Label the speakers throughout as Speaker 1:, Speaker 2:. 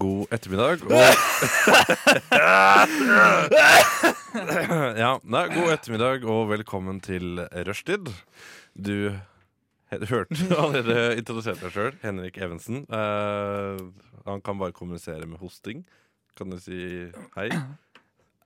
Speaker 1: God ettermiddag og Ja, nei, god ettermiddag og velkommen til Rushtid. Du he- hørte allerede introdusert deg sjøl, Henrik Evensen. Eh, han kan bare kommunisere med hosting. Kan du si hei?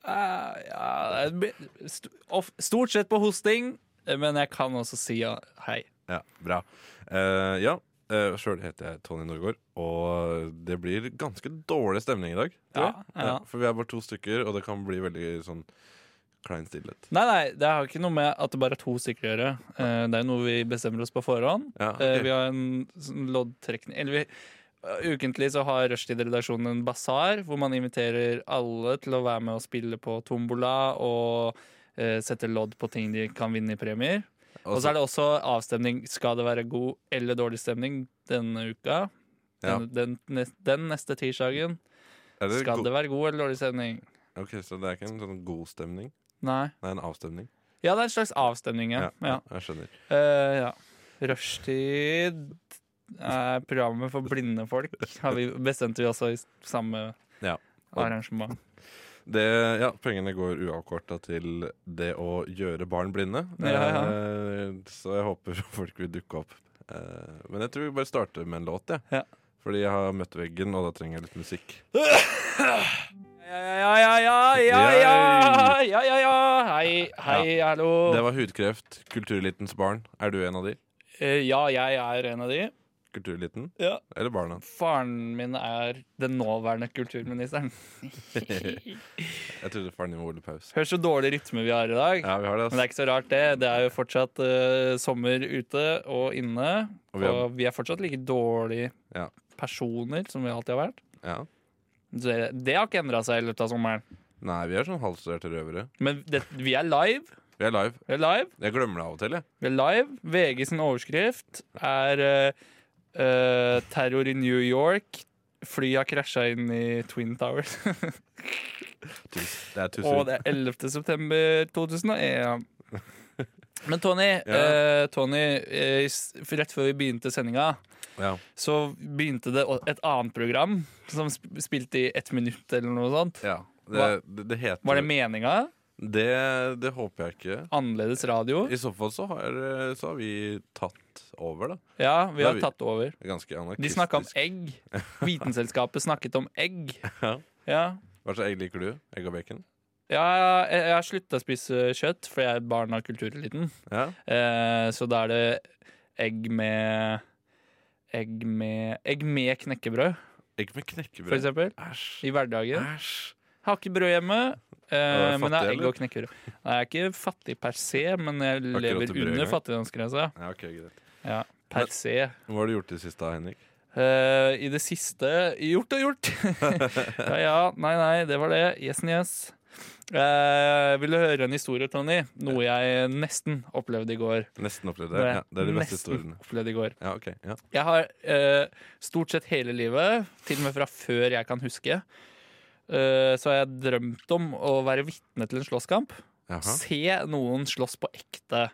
Speaker 2: Eh, ja, det blir st- of- Stort sett på hosting, eh, men jeg kan også si ja, hei.
Speaker 1: Ja, bra. Eh, ja, uh, sjøl heter jeg Tony Norgård, og det blir ganske dårlig stemning i dag. tror jeg.
Speaker 2: Ja, ja.
Speaker 1: For vi er bare to stykker, og det kan bli veldig sånn klein stillhet.
Speaker 2: Nei, nei, det har ikke noe med at det bare er to stykker å gjøre. Eh, det er noe vi bestemmer oss på forhånd.
Speaker 1: Ja,
Speaker 2: Eh,
Speaker 1: Ah, ok.
Speaker 2: vi har en sånn loddtrekning Eller vi, eh, ukentlig så har Rushtid-redaksjonen en basar hvor man inviterer alle til å være med og spille på tombola og eh, sette lodd på ting de kan vinne i premier. Og så er det også avstemning. Skal det være god eller dårlig stemning denne uka?
Speaker 1: Ja.
Speaker 2: Den, den, nes- den neste tirsdagen.
Speaker 1: Er det
Speaker 2: Skal
Speaker 1: go-
Speaker 2: det være god eller dårlig stemning?
Speaker 1: Ok, Så det er ikke en sånn god stemning?
Speaker 2: Nei.
Speaker 1: Det er en avstemning?
Speaker 2: Ja, det er en slags avstemning, ja. ja.
Speaker 1: jeg skjønner.
Speaker 2: Eh, ja. Rushtid er programmet for blinde folk, har vi, bestemte vi også i s- samme
Speaker 1: Ja.
Speaker 2: arrangement.
Speaker 1: Det, ja, pengene går uavkorta til det å gjøre barn blinde.
Speaker 2: Ja, ja.
Speaker 1: Eh, så jeg håper folk vil dukke opp. Eh, men jeg tror vi bare starter med en låt, jeg.
Speaker 2: Ja.
Speaker 1: Fordi jeg har møtt veggen, og da trenger jeg litt musikk.
Speaker 2: Ja, ja, ja, ja, ja, ja, ja, ja, ja. Hei, hei, hallo.
Speaker 1: Det var Hudkreft, Kulturelitens barn. Er du en av de?
Speaker 2: Eh, ja, jeg er en av de.
Speaker 1: Kultureliten?
Speaker 2: Ja.
Speaker 1: Eller barna?
Speaker 2: Faren min er den nåværende kulturministeren.
Speaker 1: jeg trodde faren din var Ole Paus.
Speaker 2: Hør så dårlig rytme vi har i dag.
Speaker 1: Ja, vi har det,
Speaker 2: Men det er
Speaker 1: ass.
Speaker 2: ikke så rart, det. Det er jo fortsatt eh, sommer ute og inne.
Speaker 1: Og
Speaker 2: Og
Speaker 1: vi
Speaker 2: vi
Speaker 1: er-
Speaker 2: er, fortsatt like dårlige
Speaker 1: Ja.
Speaker 2: personer som vi alltid har vært.
Speaker 1: Ja.
Speaker 2: Så det, det har ikke endra seg i løpet av sommeren.
Speaker 1: Nei, vi er sånn halvstuderte røvere.
Speaker 2: Men det, vi er live.
Speaker 1: Vi er live.
Speaker 2: Vi er live.
Speaker 1: Jeg glemmer det av og til, jeg.
Speaker 2: Vi er live. VG sin overskrift er eh, eh, 'Terror i New York'. Fly har krasja inn i Twin Towers.
Speaker 1: Tus- Det er tusen.
Speaker 2: og det er 11. september 2001. Men Tony, eh, Tony eh, s- rett før vi begynte sendinga,
Speaker 1: Ja.
Speaker 2: så begynte det å- et annet program som sp- spilte i ett minutt eller noe sånt.
Speaker 1: Ja. Det,
Speaker 2: Hva-
Speaker 1: det, det heter
Speaker 2: Var det meninga?
Speaker 1: det, det håper jeg ikke.
Speaker 2: Annerledes radio?
Speaker 1: I så fall så har, så har vi tatt over, da.
Speaker 2: Ja, vi
Speaker 1: Da
Speaker 2: har
Speaker 1: vi-
Speaker 2: tatt over.
Speaker 1: Ganske
Speaker 2: De
Speaker 1: anarkistisk.
Speaker 2: snakka om egg. Vitenselskapet snakket om egg.
Speaker 1: Ja.
Speaker 2: Ja.
Speaker 1: Hva slags egg liker du? Egg og bacon?
Speaker 2: Ja, jeg, jeg har slutta å spise kjøtt, for jeg er barn av kultureliten.
Speaker 1: Ja.
Speaker 2: Eh, så da er det egg med Egg med, egg med knekkebrød,
Speaker 1: Egg med
Speaker 2: for
Speaker 1: knekkebrød.
Speaker 2: eksempel.
Speaker 1: Æsj.
Speaker 2: I hverdagen.
Speaker 1: Æsj.
Speaker 2: Har ikke brød hjemme, eh,
Speaker 1: Er du
Speaker 2: men jeg
Speaker 1: fattig,
Speaker 2: har egg og knekkebrød. Nei, jeg er ikke fattig per se, men jeg
Speaker 1: ikke råd
Speaker 2: lever
Speaker 1: til brød
Speaker 2: under
Speaker 1: engang.
Speaker 2: fattigdomsgrensa.
Speaker 1: Ja, ok, greit.
Speaker 2: Ja, per se.
Speaker 1: Hva har du gjort i det siste, da, Henrik?
Speaker 2: Eh, I det siste Gjort og gjort! ja, ja, nei, nei, det var det. Yes and yes. Eh, vil du høre en historie, Tony? Noe jeg nesten opplevde i går.
Speaker 1: Nesten opplevd det. Ja, det er de beste
Speaker 2: Nesten
Speaker 1: historiene.
Speaker 2: opplevde i går.
Speaker 1: Ja, ok. Ja.
Speaker 2: Jeg har eh, stort sett hele livet, til og med fra før jeg kan huske, eh, så har jeg drømt om å være vitne til en slåsskamp.
Speaker 1: Jaha.
Speaker 2: Se noen slåss på ekte,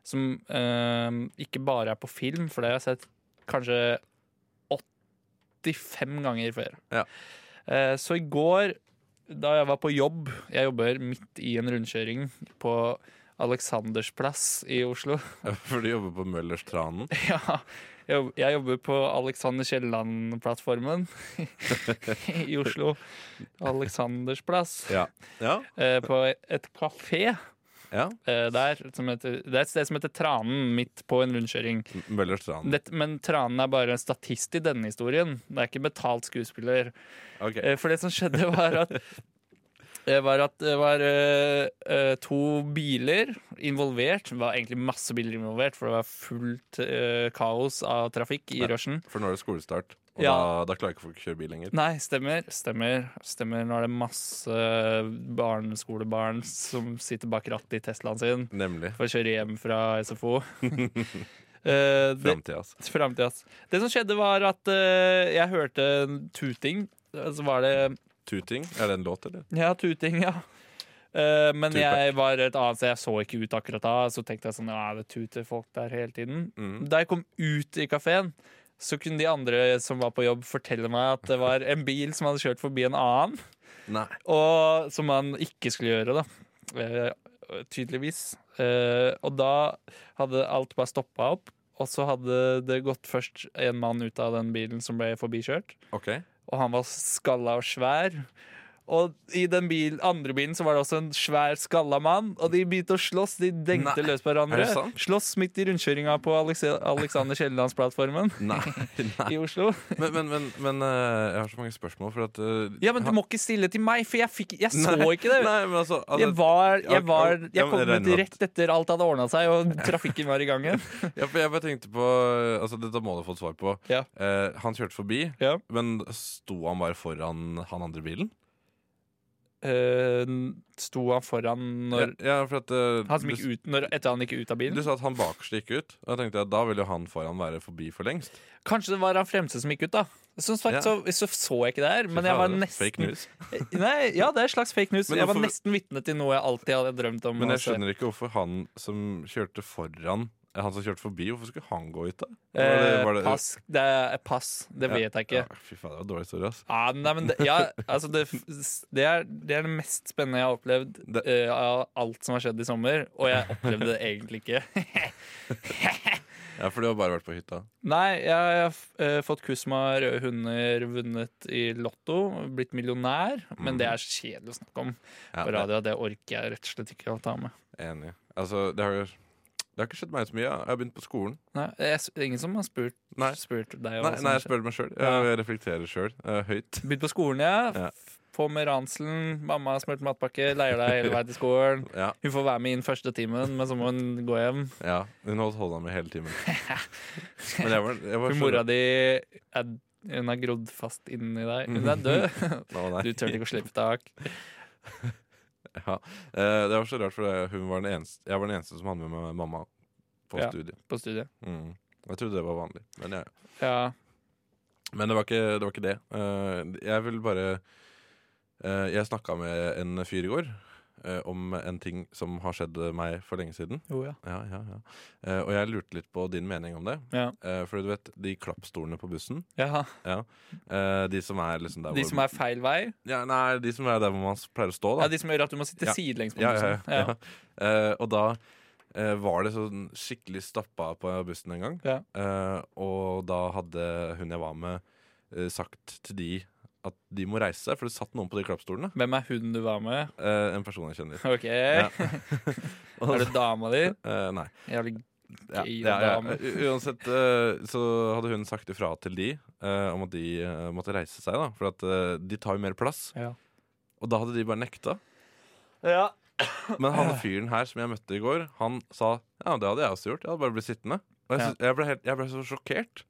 Speaker 2: som eh, ikke bare er på film, for det har jeg sett kanskje 85 ganger før.
Speaker 1: Ja.
Speaker 2: Eh, så i går, da jeg var på jobb Jeg jobber midt i en rundkjøring på Aleksandersplass i Oslo.
Speaker 1: For du jobber på Møllers Tranen.
Speaker 2: Ja, jeg, jobb- jeg jobber på Alexander Kielland-plattformen i Oslo. Alexanders plass.
Speaker 1: Ja. Ja.
Speaker 2: Eh, på et kafé
Speaker 1: ja.
Speaker 2: eh, der. Som heter, det er et sted som heter Tranen, midt på en rundkjøring.
Speaker 1: M- Møllers Tranen.
Speaker 2: Dette- men Tranen er bare en statist i denne historien. Det er ikke betalt skuespiller.
Speaker 1: Ok.
Speaker 2: Eh, For det som skjedde var at det var at det var eh, eh, to biler involvert. Det var egentlig masse biler involvert, for det var fullt eh, kaos av trafikk i
Speaker 1: Ja.
Speaker 2: rushen.
Speaker 1: For nå er det skolestart, og Og
Speaker 2: Ja.
Speaker 1: da, da klarer ikke folk å kjøre bil lenger.
Speaker 2: Nei, stemmer, stemmer. stemmer. Nå er det masse barneskolebarn som sitter bak rattet i Teslaen sin
Speaker 1: Nemlig.
Speaker 2: for å kjøre hjem fra SFO. Eh, det,
Speaker 1: Framtida, altså.
Speaker 2: Fremtid, ass. Det som skjedde, var at eh, jeg hørte en tuting. Så var det
Speaker 1: Tuting. Er det en låt, eller?
Speaker 2: Ja, tuting, ja. Eh, men
Speaker 1: Tupac.
Speaker 2: jeg var et annet sted, jeg så ikke ut akkurat da. Så tenkte jeg sånn Ja, det tuter folk der hele tiden.
Speaker 1: Mm.
Speaker 2: Da jeg kom ut i kafeen, så kunne de andre som var på jobb, fortelle meg at det var en bil som hadde kjørt forbi en annen,
Speaker 1: Nei.
Speaker 2: og som man ikke skulle gjøre, da. Eh, tydeligvis. Eh, og da hadde alt bare stoppa opp, og så hadde det gått først en mann ut av den bilen som ble forbikjørt,
Speaker 1: OK.
Speaker 2: og han var skalla og svær. Og i den bil, andre bilen så var det også en svær skalla mann, og de begynte å slåss. De dengte
Speaker 1: Nei,
Speaker 2: løs på hverandre.
Speaker 1: er det sant?
Speaker 2: Slåss midt i rundkjøringa på Alekse- Alexander Kiellandsplattformen
Speaker 1: Nei. Nei.
Speaker 2: i Oslo.
Speaker 1: Men, men, men, men eh, jeg har så mange spørsmål, for at eh,
Speaker 2: Ja, men du må ikke stille til meg, for jeg, fikk, jeg så
Speaker 1: Nei,
Speaker 2: ikke det.
Speaker 1: Nei, men altså, altså
Speaker 2: Jeg var,
Speaker 1: Ja,
Speaker 2: jeg var
Speaker 1: ja,
Speaker 2: Jeg
Speaker 1: men
Speaker 2: kom
Speaker 1: jeg
Speaker 2: ut
Speaker 1: regner med at-
Speaker 2: rett etter alt hadde ordna seg, og trafikken var i gang igjen.
Speaker 1: ja, for jeg bare tenkte på altså, Dette må du ha fått svar på.
Speaker 2: Ja.
Speaker 1: Eh, han kjørte forbi,
Speaker 2: Ja.
Speaker 1: men sto han bare foran han andre bilen?
Speaker 2: Eh, sto han foran når
Speaker 1: ja, ja, for at eh,
Speaker 2: Han som
Speaker 1: du-
Speaker 2: gikk ut når, etter han gikk ut av
Speaker 1: Du
Speaker 2: bilen?
Speaker 1: sa at han bakerste gikk ut. Og da tenkte jeg at da ville jo han foran være forbi for lengst.
Speaker 2: Kanskje det var han fremste som gikk ut, da. Som sagt,
Speaker 1: Ja.
Speaker 2: så, så så jeg ikke det her, men jeg var
Speaker 1: Fake
Speaker 2: nesten
Speaker 1: news.
Speaker 2: Nei, Ja, det er et slags fake news.
Speaker 1: Men
Speaker 2: Jeg var
Speaker 1: hvorfor-
Speaker 2: nesten vitne til noe jeg alltid hadde drømt om.
Speaker 1: Men jeg
Speaker 2: altså.
Speaker 1: skjønner ikke hvorfor han som kjørte foran eh, Han som kjørte forbi, hvorfor skulle han gå ut, da? Var det-
Speaker 2: Eh,
Speaker 1: var det-
Speaker 2: pass. Det er pass. Det vet jeg ikke.
Speaker 1: Ja, fy faen, det var en dårlig historie, ass.
Speaker 2: Ja, nei, men det, ja, altså det, det, er, det er det mest spennende jeg har opplevd
Speaker 1: Det-
Speaker 2: eh, av alt som har skjedd i sommer. Og jeg opplevde det egentlig ikke.
Speaker 1: Ja, for du har bare vært på hytta.
Speaker 2: Nei, jeg har eh, fått kuss med røde hunder, vunnet i Lotto, blitt millionær. Men det er kjedelig å snakke om
Speaker 1: Ja,
Speaker 2: på radio. Det orker jeg rett og slett ikke å ta med.
Speaker 1: Enig. Altså, det har jo Det har ikke skjedd meg så mye. Jeg har begynt på skolen.
Speaker 2: Nei, jeg, det er ingen som har spurt,
Speaker 1: Nei.
Speaker 2: spurt deg? om
Speaker 1: Nei,
Speaker 2: hva som
Speaker 1: nei
Speaker 2: har
Speaker 1: jeg spør meg sjøl.
Speaker 2: Ja.
Speaker 1: Jeg reflekterer sjøl. Høyt.
Speaker 2: Begynt på skolen, ja.
Speaker 1: Ja.
Speaker 2: På med ranselen. Mamma har smurt matpakke, leier deg hele veien til skolen.
Speaker 1: Ja,
Speaker 2: Hun får være med inn første timen, men så må hun gå hjem.
Speaker 1: ja. Hun holdt hånda mi hele timen. Men jeg var, jeg var
Speaker 2: For
Speaker 1: så-
Speaker 2: mora di er, hun har grodd fast inni deg. Hun er død.
Speaker 1: Å, Mhm. nei.
Speaker 2: Du tør ikke å slippe tak.
Speaker 1: Ja. Eh, det var så rart, for det- hun var den eneste, jeg var den eneste som hadde med meg mamma på
Speaker 2: Ja.
Speaker 1: studiet.
Speaker 2: På studiet.
Speaker 1: Mm. Jeg trodde det var vanlig, men, ja.
Speaker 2: Ja.
Speaker 1: men det, var ikke, det var ikke det. Eh, jeg vil bare eh, Jeg snakka med en fyr i går eh, om en ting som har skjedd meg for lenge siden.
Speaker 2: Jo, ja.
Speaker 1: Ja, ja, ja. Eh, og jeg lurte litt på din mening om det.
Speaker 2: Ja.
Speaker 1: Eh, for du vet, de klappstolene på bussen
Speaker 2: ja.
Speaker 1: eh, De som er liksom der
Speaker 2: De som er feil vei?
Speaker 1: ja, Nei, de som er der hvor man s- pleier å stå, da.
Speaker 2: Ja, De som gjør at du må sitte
Speaker 1: Ja.
Speaker 2: sidelengs på
Speaker 1: Ja, ja,
Speaker 2: bussen?
Speaker 1: ja. ja. Eh, og da eh, var det sånn skikkelig stappa på bussen en gang.
Speaker 2: Ja.
Speaker 1: Eh, og da hadde hun jeg var med, eh, sagt til de at de må reise seg, for det satt noen på de klappstolene.
Speaker 2: Hvem er hun du var med?
Speaker 1: Eh, en person jeg kjenner.
Speaker 2: OK.
Speaker 1: Ja. Og
Speaker 2: Er det dama di?
Speaker 1: eh, nei.
Speaker 2: Jævlig
Speaker 1: Ja,
Speaker 2: Gøy
Speaker 1: ja, ja.
Speaker 2: dame.
Speaker 1: U- Uansett eh, så hadde hun sagt ifra til de eh, om at de eh, måtte reise seg, da. For at eh, de tar jo mer plass.
Speaker 2: Ja.
Speaker 1: Og da hadde de bare nekta.
Speaker 2: ja.
Speaker 1: Men han fyren her som jeg møtte i går, han sa Ja, det hadde jeg også gjort. Jeg hadde bare blitt sittende. Og jeg,
Speaker 2: Ja.
Speaker 1: synes, jeg, ble, helt, jeg ble så sjokkert.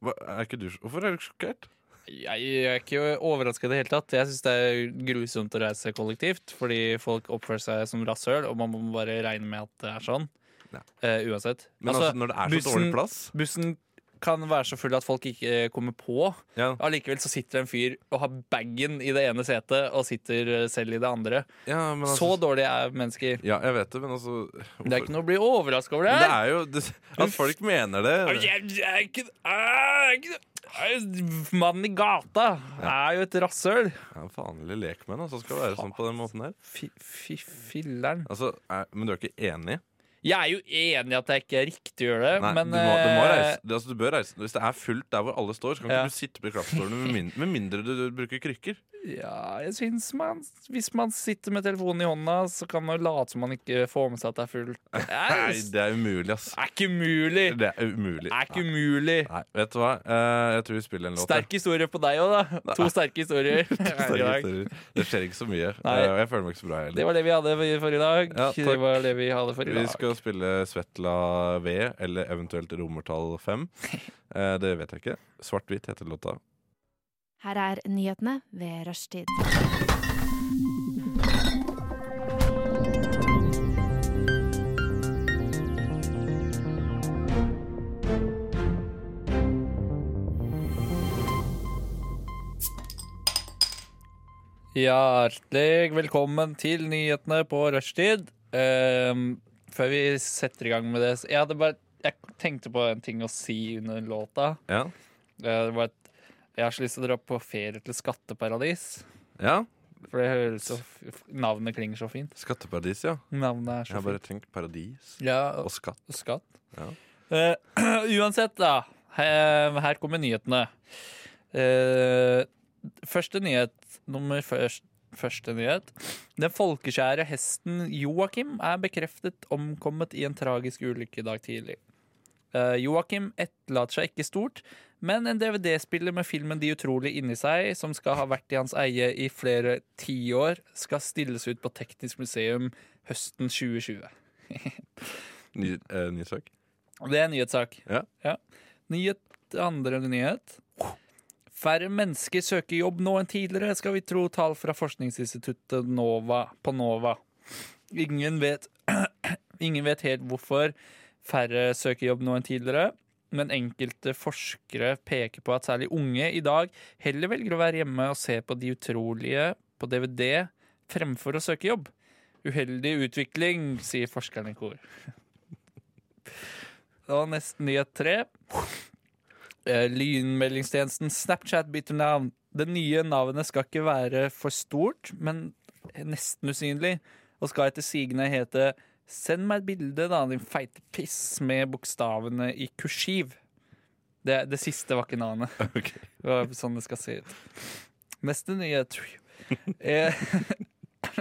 Speaker 1: Hva, er ikke du, sj- hvorfor er du sjokkert?
Speaker 2: Jeg er ikke overraska i det hele tatt. Jeg syns det er grusomt å reise kollektivt, fordi folk oppfører seg som rasshøl, og man må bare regne med at det er sånn.
Speaker 1: Ja.
Speaker 2: Eh, uansett.
Speaker 1: Men altså,
Speaker 2: altså,
Speaker 1: når det er så
Speaker 2: bussen-
Speaker 1: dårlig plass
Speaker 2: bussen kan være så full at folk ikke eh, kommer på.
Speaker 1: ja,
Speaker 2: Allikevel så sitter det en fyr og har bagen i det ene setet og sitter eh, selv i det andre.
Speaker 1: ja, men altså,
Speaker 2: Så dårlig er mennesker.
Speaker 1: Ja, jeg vet det, men altså
Speaker 2: Det er
Speaker 1: hvorfor-
Speaker 2: ikke noe å bli overraska over det
Speaker 1: Men det
Speaker 2: her!
Speaker 1: er jo det, At folk mener det
Speaker 2: Jeg- jeg er ikke- jeg er ikke- jeg- Mannen i gata er jo et rasshøl.
Speaker 1: ja, Vanlige lekmenn altså, skal være sånn på den måten her.
Speaker 2: Fy, fy filler'n.
Speaker 1: Altså, er, men du er ikke enig?
Speaker 2: Jeg er jo enig i at jeg ikke riktig gjør det,
Speaker 1: Nei,
Speaker 2: men
Speaker 1: du, må, du, må
Speaker 2: eh,
Speaker 1: reise, du, altså, du bør reise Hvis det er fullt der hvor alle står, så kan
Speaker 2: Ja.
Speaker 1: ikke du sitte på klappstolene med, min, med mindre du, du bruker krykker.
Speaker 2: Ja, jeg synes man Hvis man sitter med telefonen i hånda, så kan man jo late som man ikke får med seg at det er fullt. Det
Speaker 1: Nei,
Speaker 2: er,
Speaker 1: det er umulig, ass.
Speaker 2: er ikke mulig! Det
Speaker 1: Det er umulig.
Speaker 2: er ikke mulig!
Speaker 1: Nei, vet du hva? Eh, jeg tror vi spiller en låt. jeg.
Speaker 2: Sterk historie på deg òg, da. To sterke historier. her i
Speaker 1: Sterke
Speaker 2: dag.
Speaker 1: historier. Det skjer ikke så mye,
Speaker 2: Nei.
Speaker 1: eh, og jeg føler meg ikke så bra
Speaker 2: Det
Speaker 1: heller.
Speaker 2: var det vi hadde for i dag.
Speaker 1: Ja, takk.
Speaker 2: det var det vi hadde for i
Speaker 1: Vi
Speaker 2: dag.
Speaker 1: skal å spille Svetla V, eller eventuelt romertall 5. Eh, det vet jeg ikke. Svart-hvitt heter låta.
Speaker 3: Her er nyhetene ved rushtid.
Speaker 2: Hjertelig velkommen til nyhetene på rushtid. Ehm, før vi setter i gang med det så Jeg, hadde bare, jeg tenkte på en ting å si under låta.
Speaker 1: Ja.
Speaker 2: Eh, det var at jeg har så lyst til å dra på ferie til skatteparadis.
Speaker 1: ja.
Speaker 2: For det høres så f- Navnet klinger så fint.
Speaker 1: Skatteparadis, ja.
Speaker 2: Navnet er
Speaker 1: Jeg
Speaker 2: så
Speaker 1: har bare
Speaker 2: fint.
Speaker 1: tenkt paradis
Speaker 2: Ja, og
Speaker 1: og skatt.
Speaker 2: og skatt.
Speaker 1: Ja.
Speaker 2: Eh, uansett, da. Her, her kommer nyhetene. Eh, første nyhet nummer først. Første nyhet. Den folkeskjære hesten Joakim er bekreftet omkommet i en tragisk ulykke i dag tidlig. Eh, Joakim etterlater seg ikke stort, men en DVD-spiller med filmen De utrolige inni seg, som skal ha vært i hans eie i flere tiår, skal stilles ut på Teknisk museum høsten 2020.
Speaker 1: Ny, eh, ny sak.
Speaker 2: Det er en nyhetssak.
Speaker 1: Ja.
Speaker 2: Nyhet, andre nyhet. Færre mennesker søker jobb nå enn tidligere, skal vi tro tall fra forskningsinstituttet NOVA på NOVA. Ingen vet, ingen vet helt hvorfor færre søker jobb nå enn tidligere, men enkelte forskere peker på at særlig unge i dag heller velger å være hjemme og se på De utrolige på DVD fremfor å søke jobb. Uheldig utvikling, sier forskerne i kor. Det var nesten nyhet tre. Eh, Lynmeldingstjenesten Snapchat bytter navn. Det nye navnet skal ikke være for stort, men nesten usynlig, og skal etter sigende hete 'Send meg et bilde, da, din feite piss', med bokstavene i kursiv. Det, det siste var ikke navnet.
Speaker 1: Ok.
Speaker 2: Det var sånn det skal se ut. Neste nyhet. Eh,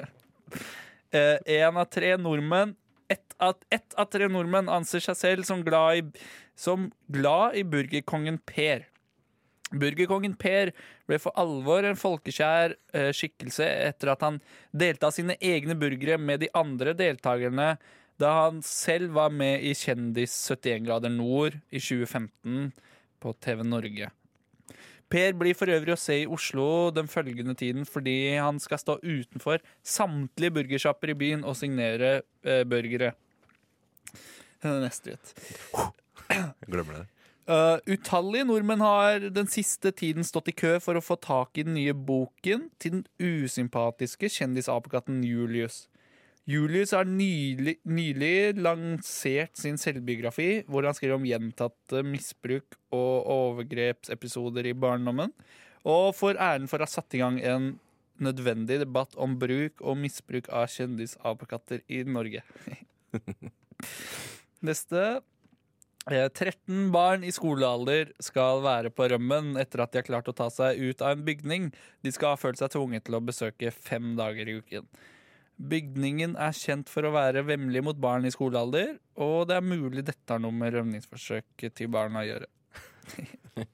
Speaker 2: eh, En av tre nordmenn ett av, ett av tre nordmenn anser seg selv som glad i, som glad i burgerkongen Per. Burgerkongen Per ble for alvor en folkeskjær eh, skikkelse etter at han delte av sine egne burgere med de andre deltakerne da han selv var med i Kjendis 71 grader nord i 2015 på TV Norge. Per blir for øvrig å se i Oslo den følgende tiden fordi han skal stå utenfor samtlige burgersjapper i byen og signere eh, burgere. Neste ut.
Speaker 1: Jeg glemmer det.
Speaker 2: Eh, utallige nordmenn har den siste tiden stått i kø for å få tak i den nye boken til den usympatiske kjendisapekatten Julius. Julius har nylig, nylig lansert sin selvbiografi, hvor han skriver om gjentatte misbruk og overgrepsepisoder i barndommen, og får æren for å ha satt i gang en nødvendig debatt om bruk og misbruk av kjendisapekatter i Norge. Neste Eh, 13 barn i skolealder skal være på rømmen etter at de har klart å ta seg ut av en bygning de skal ha følt seg tvunget til å besøke fem dager i uken. Bygningen er kjent for å være vemmelig mot barn i skolealder, og det er mulig dette har noe med rømningsforsøket til barna å gjøre.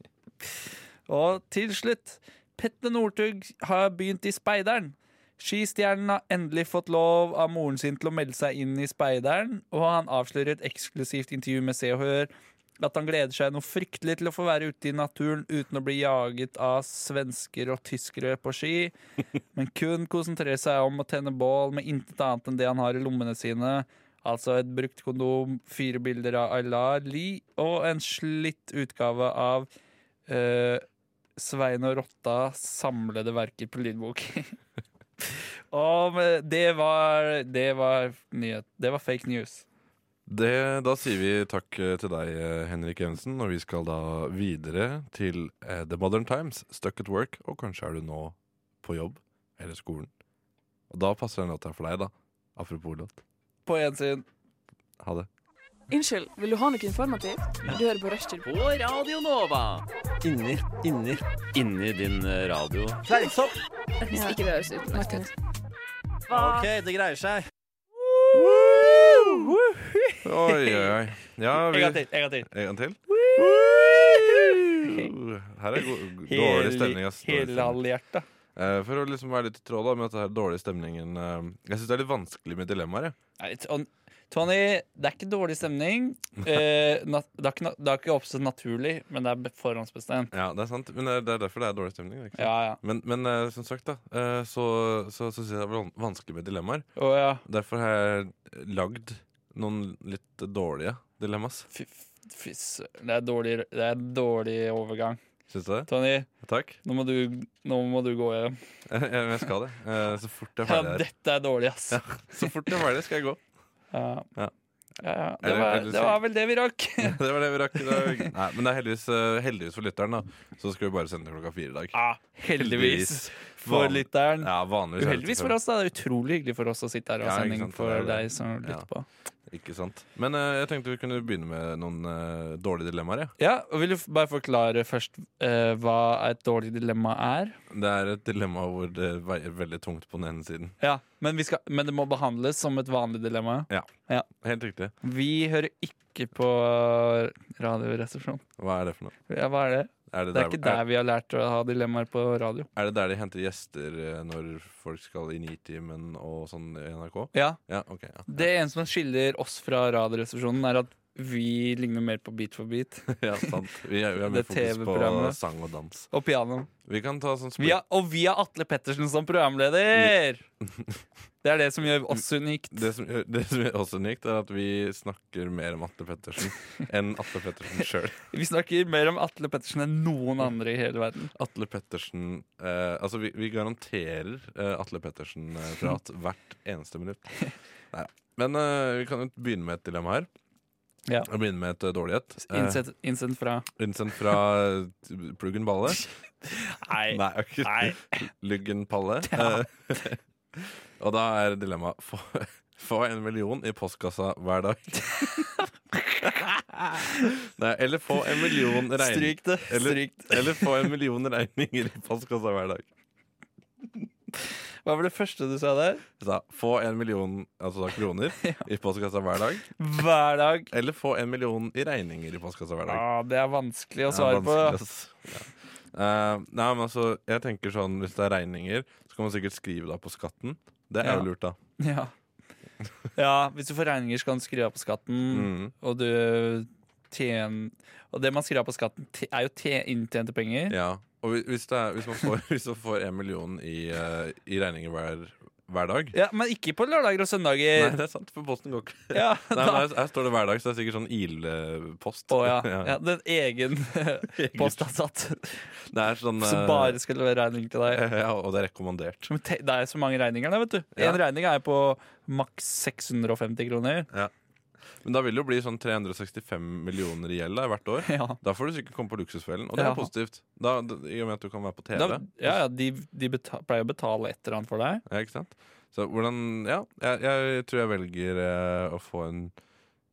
Speaker 2: og til slutt, Petter Northug har begynt i Speideren. Skistjernen har endelig fått lov av moren sin til å melde seg inn i Speideren, og han avslører i et eksklusivt intervju med Se og Hør at han gleder seg noe fryktelig til å få være ute i naturen uten å bli jaget av svensker og tyskere på ski, men kun konsentrere seg om å tenne bål med intet annet enn det han har i lommene sine, altså et brukt kondom, fire bilder av Aylar Lie og en slitt utgave av eh, Svein og Rotta samlede verker på lydbok. Og med- det var, det var nyhet. Det var fake news.
Speaker 1: Det, da sier vi takk eh, til deg, eh, Henrik Evensen, og vi skal da videre til eh, The Modern Times, Stuck at Work, og kanskje er du nå på jobb eller skolen. Og da passer den låta for deg, da. Apropos låt.
Speaker 2: På en side
Speaker 1: Ha det.
Speaker 4: Unnskyld, vil du ha noe informativt? Du hører på Rushtid.
Speaker 5: på Radio Nova. Inni, inni, inni din eh, radio.
Speaker 4: Hvis ikke det høres ut Martin.
Speaker 5: OK, det greier seg.
Speaker 1: Oi, oi, oi. Ja,
Speaker 2: En
Speaker 1: vi,
Speaker 2: gang til. En gang til.
Speaker 1: en gang til. Her er go
Speaker 2: Hele-
Speaker 1: dårlig stemning, ass. Dårlig
Speaker 2: Hele
Speaker 1: stemning.
Speaker 2: halvhjertet.
Speaker 1: Eh, For å liksom være litt i tråd da med at det her dårlige stemningen eh, Jeg syns det er litt vanskelig med dilemmaer. jeg.
Speaker 2: Nei, litt sånn- Tony, det er ikke dårlig stemning. Eh, nat, det, har ikke, na- det har ikke oppstått naturlig, men det er be- forhåndsbestemt.
Speaker 1: Ja, det er sant. Men det er- det er derfor det er dårlig stemning. det er Ikke? sant?
Speaker 2: Ja, ja.
Speaker 1: Men, men eh, som sagt, da, eh, så, så, så syns jeg det er van- vanskelig med dilemmaer.
Speaker 2: Å ja.
Speaker 1: Derfor har jeg lagd noen litt dårlige dilemmas.
Speaker 2: Fy, fy, sø- det, er dårlig, det er dårlig overgang.
Speaker 1: Syns du det?
Speaker 2: Tony,
Speaker 1: Takk.
Speaker 2: nå må du, nå må du gå hjem.
Speaker 1: Jeg, jeg jeg skal det. Eh, Så fort jeg er
Speaker 2: Ja,
Speaker 1: ferdig her.
Speaker 2: dette er dårlig, ass.
Speaker 1: Ja. Så fort jeg er ferdig, skal jeg gå.
Speaker 2: Ja.
Speaker 1: Ja.
Speaker 2: Ja. ja.
Speaker 1: Er
Speaker 2: Det,
Speaker 1: det- er
Speaker 2: var,
Speaker 1: det
Speaker 2: det
Speaker 1: sykt?
Speaker 2: var vel det vi rakk.
Speaker 1: Det var det vi rakk i dag. Nei, men det er heldigvis, eh, heldigvis for lytteren, da. Så skal vi bare sende klokka fire i dag.
Speaker 2: Ah, heldigvis for
Speaker 1: Van-
Speaker 2: lytteren.
Speaker 1: Ja, vanligvis. er det
Speaker 2: Uheldigvis
Speaker 1: til
Speaker 2: for
Speaker 1: fem.
Speaker 2: oss, da. Det er utrolig hyggelig for oss å sitte her og
Speaker 1: Ja,
Speaker 2: ha
Speaker 1: ikke
Speaker 2: sending
Speaker 1: sant, det er
Speaker 2: for
Speaker 1: det.
Speaker 2: deg som
Speaker 1: Ja.
Speaker 2: lytter på.
Speaker 1: Ikke sant. Men eh, jeg tenkte vi kunne begynne med noen eh, dårlige dilemmaer. Ja.
Speaker 2: Ja, og Vil du f- bare forklare først eh, hva et dårlig dilemma er?
Speaker 1: Det er et dilemma hvor det veier veldig tungt på den ene siden.
Speaker 2: Ja, men, vi skal, men det må behandles som et vanlig dilemma.
Speaker 1: Helt riktig.
Speaker 2: Vi hører ikke på Radioresepsjonen.
Speaker 1: Hva er det for noe?
Speaker 2: Ja, hva er det?
Speaker 1: Er det,
Speaker 2: Det er ikke
Speaker 1: er,
Speaker 2: der vi har lært å ha dilemmaer på radio.
Speaker 1: er det der de henter gjester eh, når folk skal i Nitimen og sånn i NRK?
Speaker 2: Ja,
Speaker 1: Ja, ok. Ja.
Speaker 2: Det eneste som skiller oss fra Radioresepsjonen, er at vi ligner mer på Beat for beat
Speaker 1: Ja, sant. Vi har, vi har mye
Speaker 2: Det
Speaker 1: fokus på
Speaker 2: TV-programmet.
Speaker 1: sang og dans.
Speaker 2: og piano.
Speaker 1: Vi kan ta sånn
Speaker 2: Vi har, og vi har Atle Pettersen som programleder! Det er det som gjør oss unikt.
Speaker 1: det som, gjør- det som er også unikt, er at vi snakker mer om Atle Pettersen enn Atle Pettersen sjøl.
Speaker 2: Vi snakker mer om Atle Pettersen enn noen andre i hele verden.
Speaker 1: Atle Pettersen eh, Altså, vi, vi garanterer eh, Atle Pettersen-prat hvert eneste minutt. Nei. Men eh, vi kan jo begynne med et dilemma her.
Speaker 2: Ja.
Speaker 1: Og begynne med et eh, dårlig et. Eh,
Speaker 2: Innsett, innsendt fra
Speaker 1: Innsendt fra eh, Pluggen Balle.
Speaker 2: Nei.
Speaker 1: Nei, ok. Luggen Palle. Eh, og da er dilemmaet få, få en million i postkassa hver dag. Nei, eller få en million regninger
Speaker 2: Stryk det.
Speaker 1: Eller,
Speaker 2: Stryk.
Speaker 1: eller få en million regninger i postkassa hver dag.
Speaker 2: Hva var det første du sa der?
Speaker 1: Så, få en million altså, da, kroner i postkassa hver dag,
Speaker 2: Hver dag.
Speaker 1: eller få en million i regninger i postkassa hver dag.
Speaker 2: Ah, det er vanskelig å
Speaker 1: Det er
Speaker 2: svare på.
Speaker 1: vanskelig, altså. ass. Ja. Eh, nei, men altså, jeg tenker sånn Hvis det er regninger, så kan man sikkert skrive da på skatten. Det er
Speaker 2: Ja.
Speaker 1: jo lurt, da.
Speaker 2: Ja. ja, hvis du får regninger, skal du skrive av på skatten.
Speaker 1: Mm.
Speaker 2: Og du tjener Og det man skriver av på skatten, te- er jo te inntjente penger.
Speaker 1: Mm, Ja, og hvi- hvis, det er, hvis, man får, hvis man får en million i, eh, i regninger hver, hver dag
Speaker 2: Ja, Men ikke på lørdager og søndager.
Speaker 1: Nei, det er sant, for posten går ikke
Speaker 2: Ja,
Speaker 1: Nei, men
Speaker 2: da-
Speaker 1: her, her står det hver dag, så det er sikkert sånn IL-post
Speaker 2: Å ja. ja. Den egen postansatt
Speaker 1: Det er sånn
Speaker 2: som
Speaker 1: eh,
Speaker 2: bare skal levere regning til deg.
Speaker 1: Ja, og det er rekommandert
Speaker 2: Men te- Det er så mange regninger der, vet du.
Speaker 1: Ja.
Speaker 2: En regning er på maks 650 kroner.
Speaker 1: Men da vil det jo bli sånn 365 millioner i gjeld da, hvert år
Speaker 2: Ja.
Speaker 1: Da får du sikkert komme på luksusfellen, og det er
Speaker 2: Ja.
Speaker 1: positivt da, d- I og med at du kan være på TV
Speaker 2: Da, ja, ja, de de beta pleier å betale et eller annet for deg.
Speaker 1: Ja, ikke sant? Så hvordan, ja, jeg, jeg tror jeg velger eh, å få en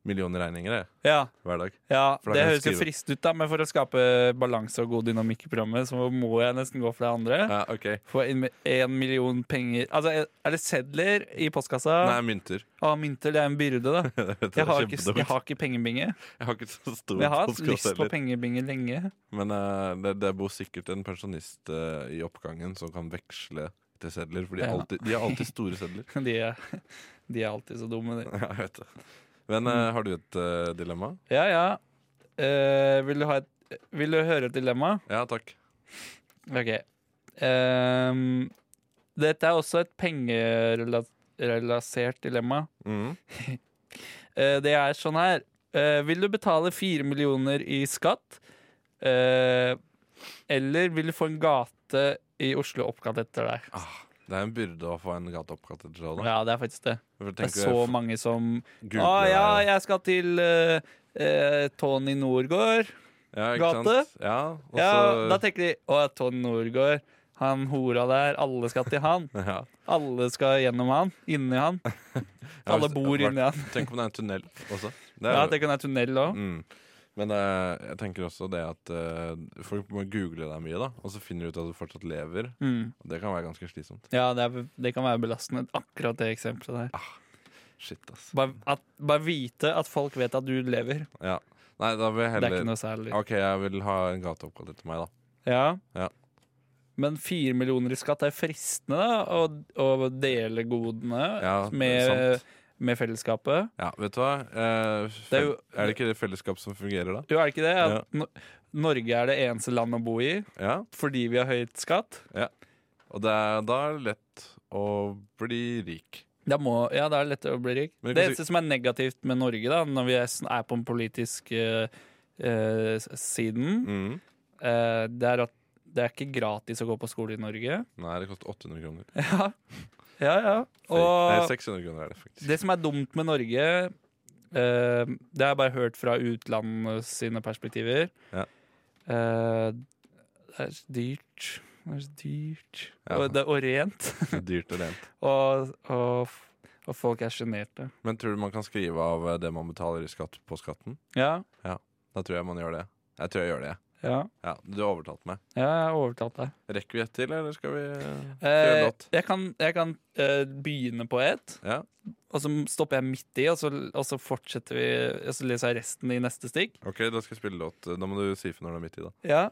Speaker 1: million i regninger jeg,
Speaker 2: Ja,
Speaker 1: hver dag
Speaker 2: ja
Speaker 1: For da
Speaker 2: Det
Speaker 1: kan jeg
Speaker 2: høres jo
Speaker 1: skrive.
Speaker 2: fristende ut, da, men for å skape balanse og god dynamikk i programmet, så må jeg nesten gå for det andre.
Speaker 1: Ja, Eh, ok
Speaker 2: Få en, en million penger Altså, er det sedler i
Speaker 1: Nei,
Speaker 2: postkassa?
Speaker 1: mynter
Speaker 2: Å, mynter, det er en byrde, da.
Speaker 1: Det er
Speaker 2: Jeg har ikke,
Speaker 1: kjempedumt.
Speaker 2: jeg har ikke pengebinge.
Speaker 1: Jeg har ikke så stor
Speaker 2: Men jeg har hatt
Speaker 1: postkassa
Speaker 2: lyst på
Speaker 1: heller.
Speaker 2: pengebinge lenge.
Speaker 1: Men eh, det, det bor sikkert en pensjonist eh, i oppgangen som kan veksle til sedler. For de har
Speaker 2: Ja.
Speaker 1: alltid, de har alltid store sedler.
Speaker 2: De er, de er alltid så dumme, de.
Speaker 1: Ja, jeg vet det. Men eh,
Speaker 2: Mm.
Speaker 1: har du et eh, dilemma?
Speaker 2: Ja, ja. Eh, vil, du ha et, vil du høre et dilemma?
Speaker 1: Ja, takk.
Speaker 2: OK. Ehm, dette er også et pengerelasert dilemma.
Speaker 1: Mhm.
Speaker 2: Eh, det er sånn her. Eh, vil du betale fire millioner i skatt? Eh, eller vil du få en gate i Oslo oppkalt etter deg?
Speaker 1: Det er en byrde å få en gate oppkalt etter seg. da.
Speaker 2: Ja, det er faktisk det.
Speaker 1: For
Speaker 2: Det er
Speaker 1: tenk å
Speaker 2: så mange som
Speaker 1: google
Speaker 2: Å ja,
Speaker 1: deg.
Speaker 2: jeg skal til eh, eh, Tony Norgård.
Speaker 1: ja, ikke
Speaker 2: gate.
Speaker 1: sant? Ja, og
Speaker 2: Ja,
Speaker 1: så-
Speaker 2: Da tenker de å ja, Tony Norgård, han hora der, alle skal til han.
Speaker 1: ja.
Speaker 2: Alle skal gjennom han, inni han.
Speaker 1: Ja,
Speaker 2: Alle
Speaker 1: hvis-
Speaker 2: bor inni han.
Speaker 1: Tenk om det er en tunnel også. Det er
Speaker 2: Ja,
Speaker 1: jo-
Speaker 2: Tenk om det er tunnel òg.
Speaker 1: Mm. Men eh, jeg tenker også det at eh, folk må google deg mye, da. Og så finner du ut at du fortsatt lever.
Speaker 2: Mm.
Speaker 1: Og Det kan være ganske slitsomt.
Speaker 2: Ja, det, er, det kan være belastende, akkurat det eksempelet der.
Speaker 1: Shit, ass.
Speaker 2: Bare, at, bare vite at folk vet at du lever.
Speaker 1: Ja. Nei, da vil jeg
Speaker 2: Det er ikke
Speaker 1: heller
Speaker 2: noe særlig.
Speaker 1: Ok, jeg vil ha en gate oppkalt etter meg, da.
Speaker 2: Ja.
Speaker 1: Ja.
Speaker 2: Men fire millioner i skatt er fristende da, å, å dele godene
Speaker 1: Ja, det er
Speaker 2: med,
Speaker 1: sant.
Speaker 2: med fellesskapet.
Speaker 1: Ja, vet du hva? Eh,
Speaker 2: Det er
Speaker 1: er,
Speaker 2: jo-
Speaker 1: det ikke det fellesskap som fungerer, da?
Speaker 2: Jo, er det ikke det? At
Speaker 1: Ja.
Speaker 2: No- Norge er det eneste landet å bo i
Speaker 1: Ja,
Speaker 2: fordi vi har høyt skatt.
Speaker 1: Og det er, da er det lett å bli rik.
Speaker 2: Da må, ja, det er det lettere å bli rik.
Speaker 1: Men
Speaker 2: Det
Speaker 1: vi kan
Speaker 2: eneste som er negativt med Norge, da, når vi er, sn- er på den politiske eh, s- siden,
Speaker 1: Mm.
Speaker 2: eh, det er at det er ikke gratis å gå på skole i Norge.
Speaker 1: Nei, det koster 800 kroner.
Speaker 2: Ja, ja. ja.
Speaker 1: Nei,
Speaker 2: Og
Speaker 1: 600 kroner er det faktisk.
Speaker 2: det som er dumt med Norge, eh, det har jeg bare hørt fra utlandet sine perspektiver,
Speaker 1: Ja.
Speaker 2: eh, det er så dyrt. Det er så dyrt.
Speaker 1: Ja.
Speaker 2: Og, det, og rent.
Speaker 1: Det er dyrt og rent.
Speaker 2: Og, og, f- og folk er sjenerte.
Speaker 1: Men tror du man kan skrive av eh, det man betaler i skatt, på skatten?
Speaker 2: Ja,
Speaker 1: Da tror jeg man gjør det. Jeg tror jeg gjør det.
Speaker 2: ja.
Speaker 1: Ja, Du har overtalt meg.
Speaker 2: Ja, jeg har overtalt deg.
Speaker 1: Rekker vi ett til, eller skal vi kjøre
Speaker 2: Eh,
Speaker 1: låt?
Speaker 2: jeg kan, jeg kan eh, begynne på ett,
Speaker 1: Ja.
Speaker 2: og så stopper jeg midt i, og så, og så fortsetter vi Og så leser jeg resten i neste stikk.
Speaker 1: Ok, da skal jeg spille låt. Da må du si for når det er midt i, da.
Speaker 2: Ja.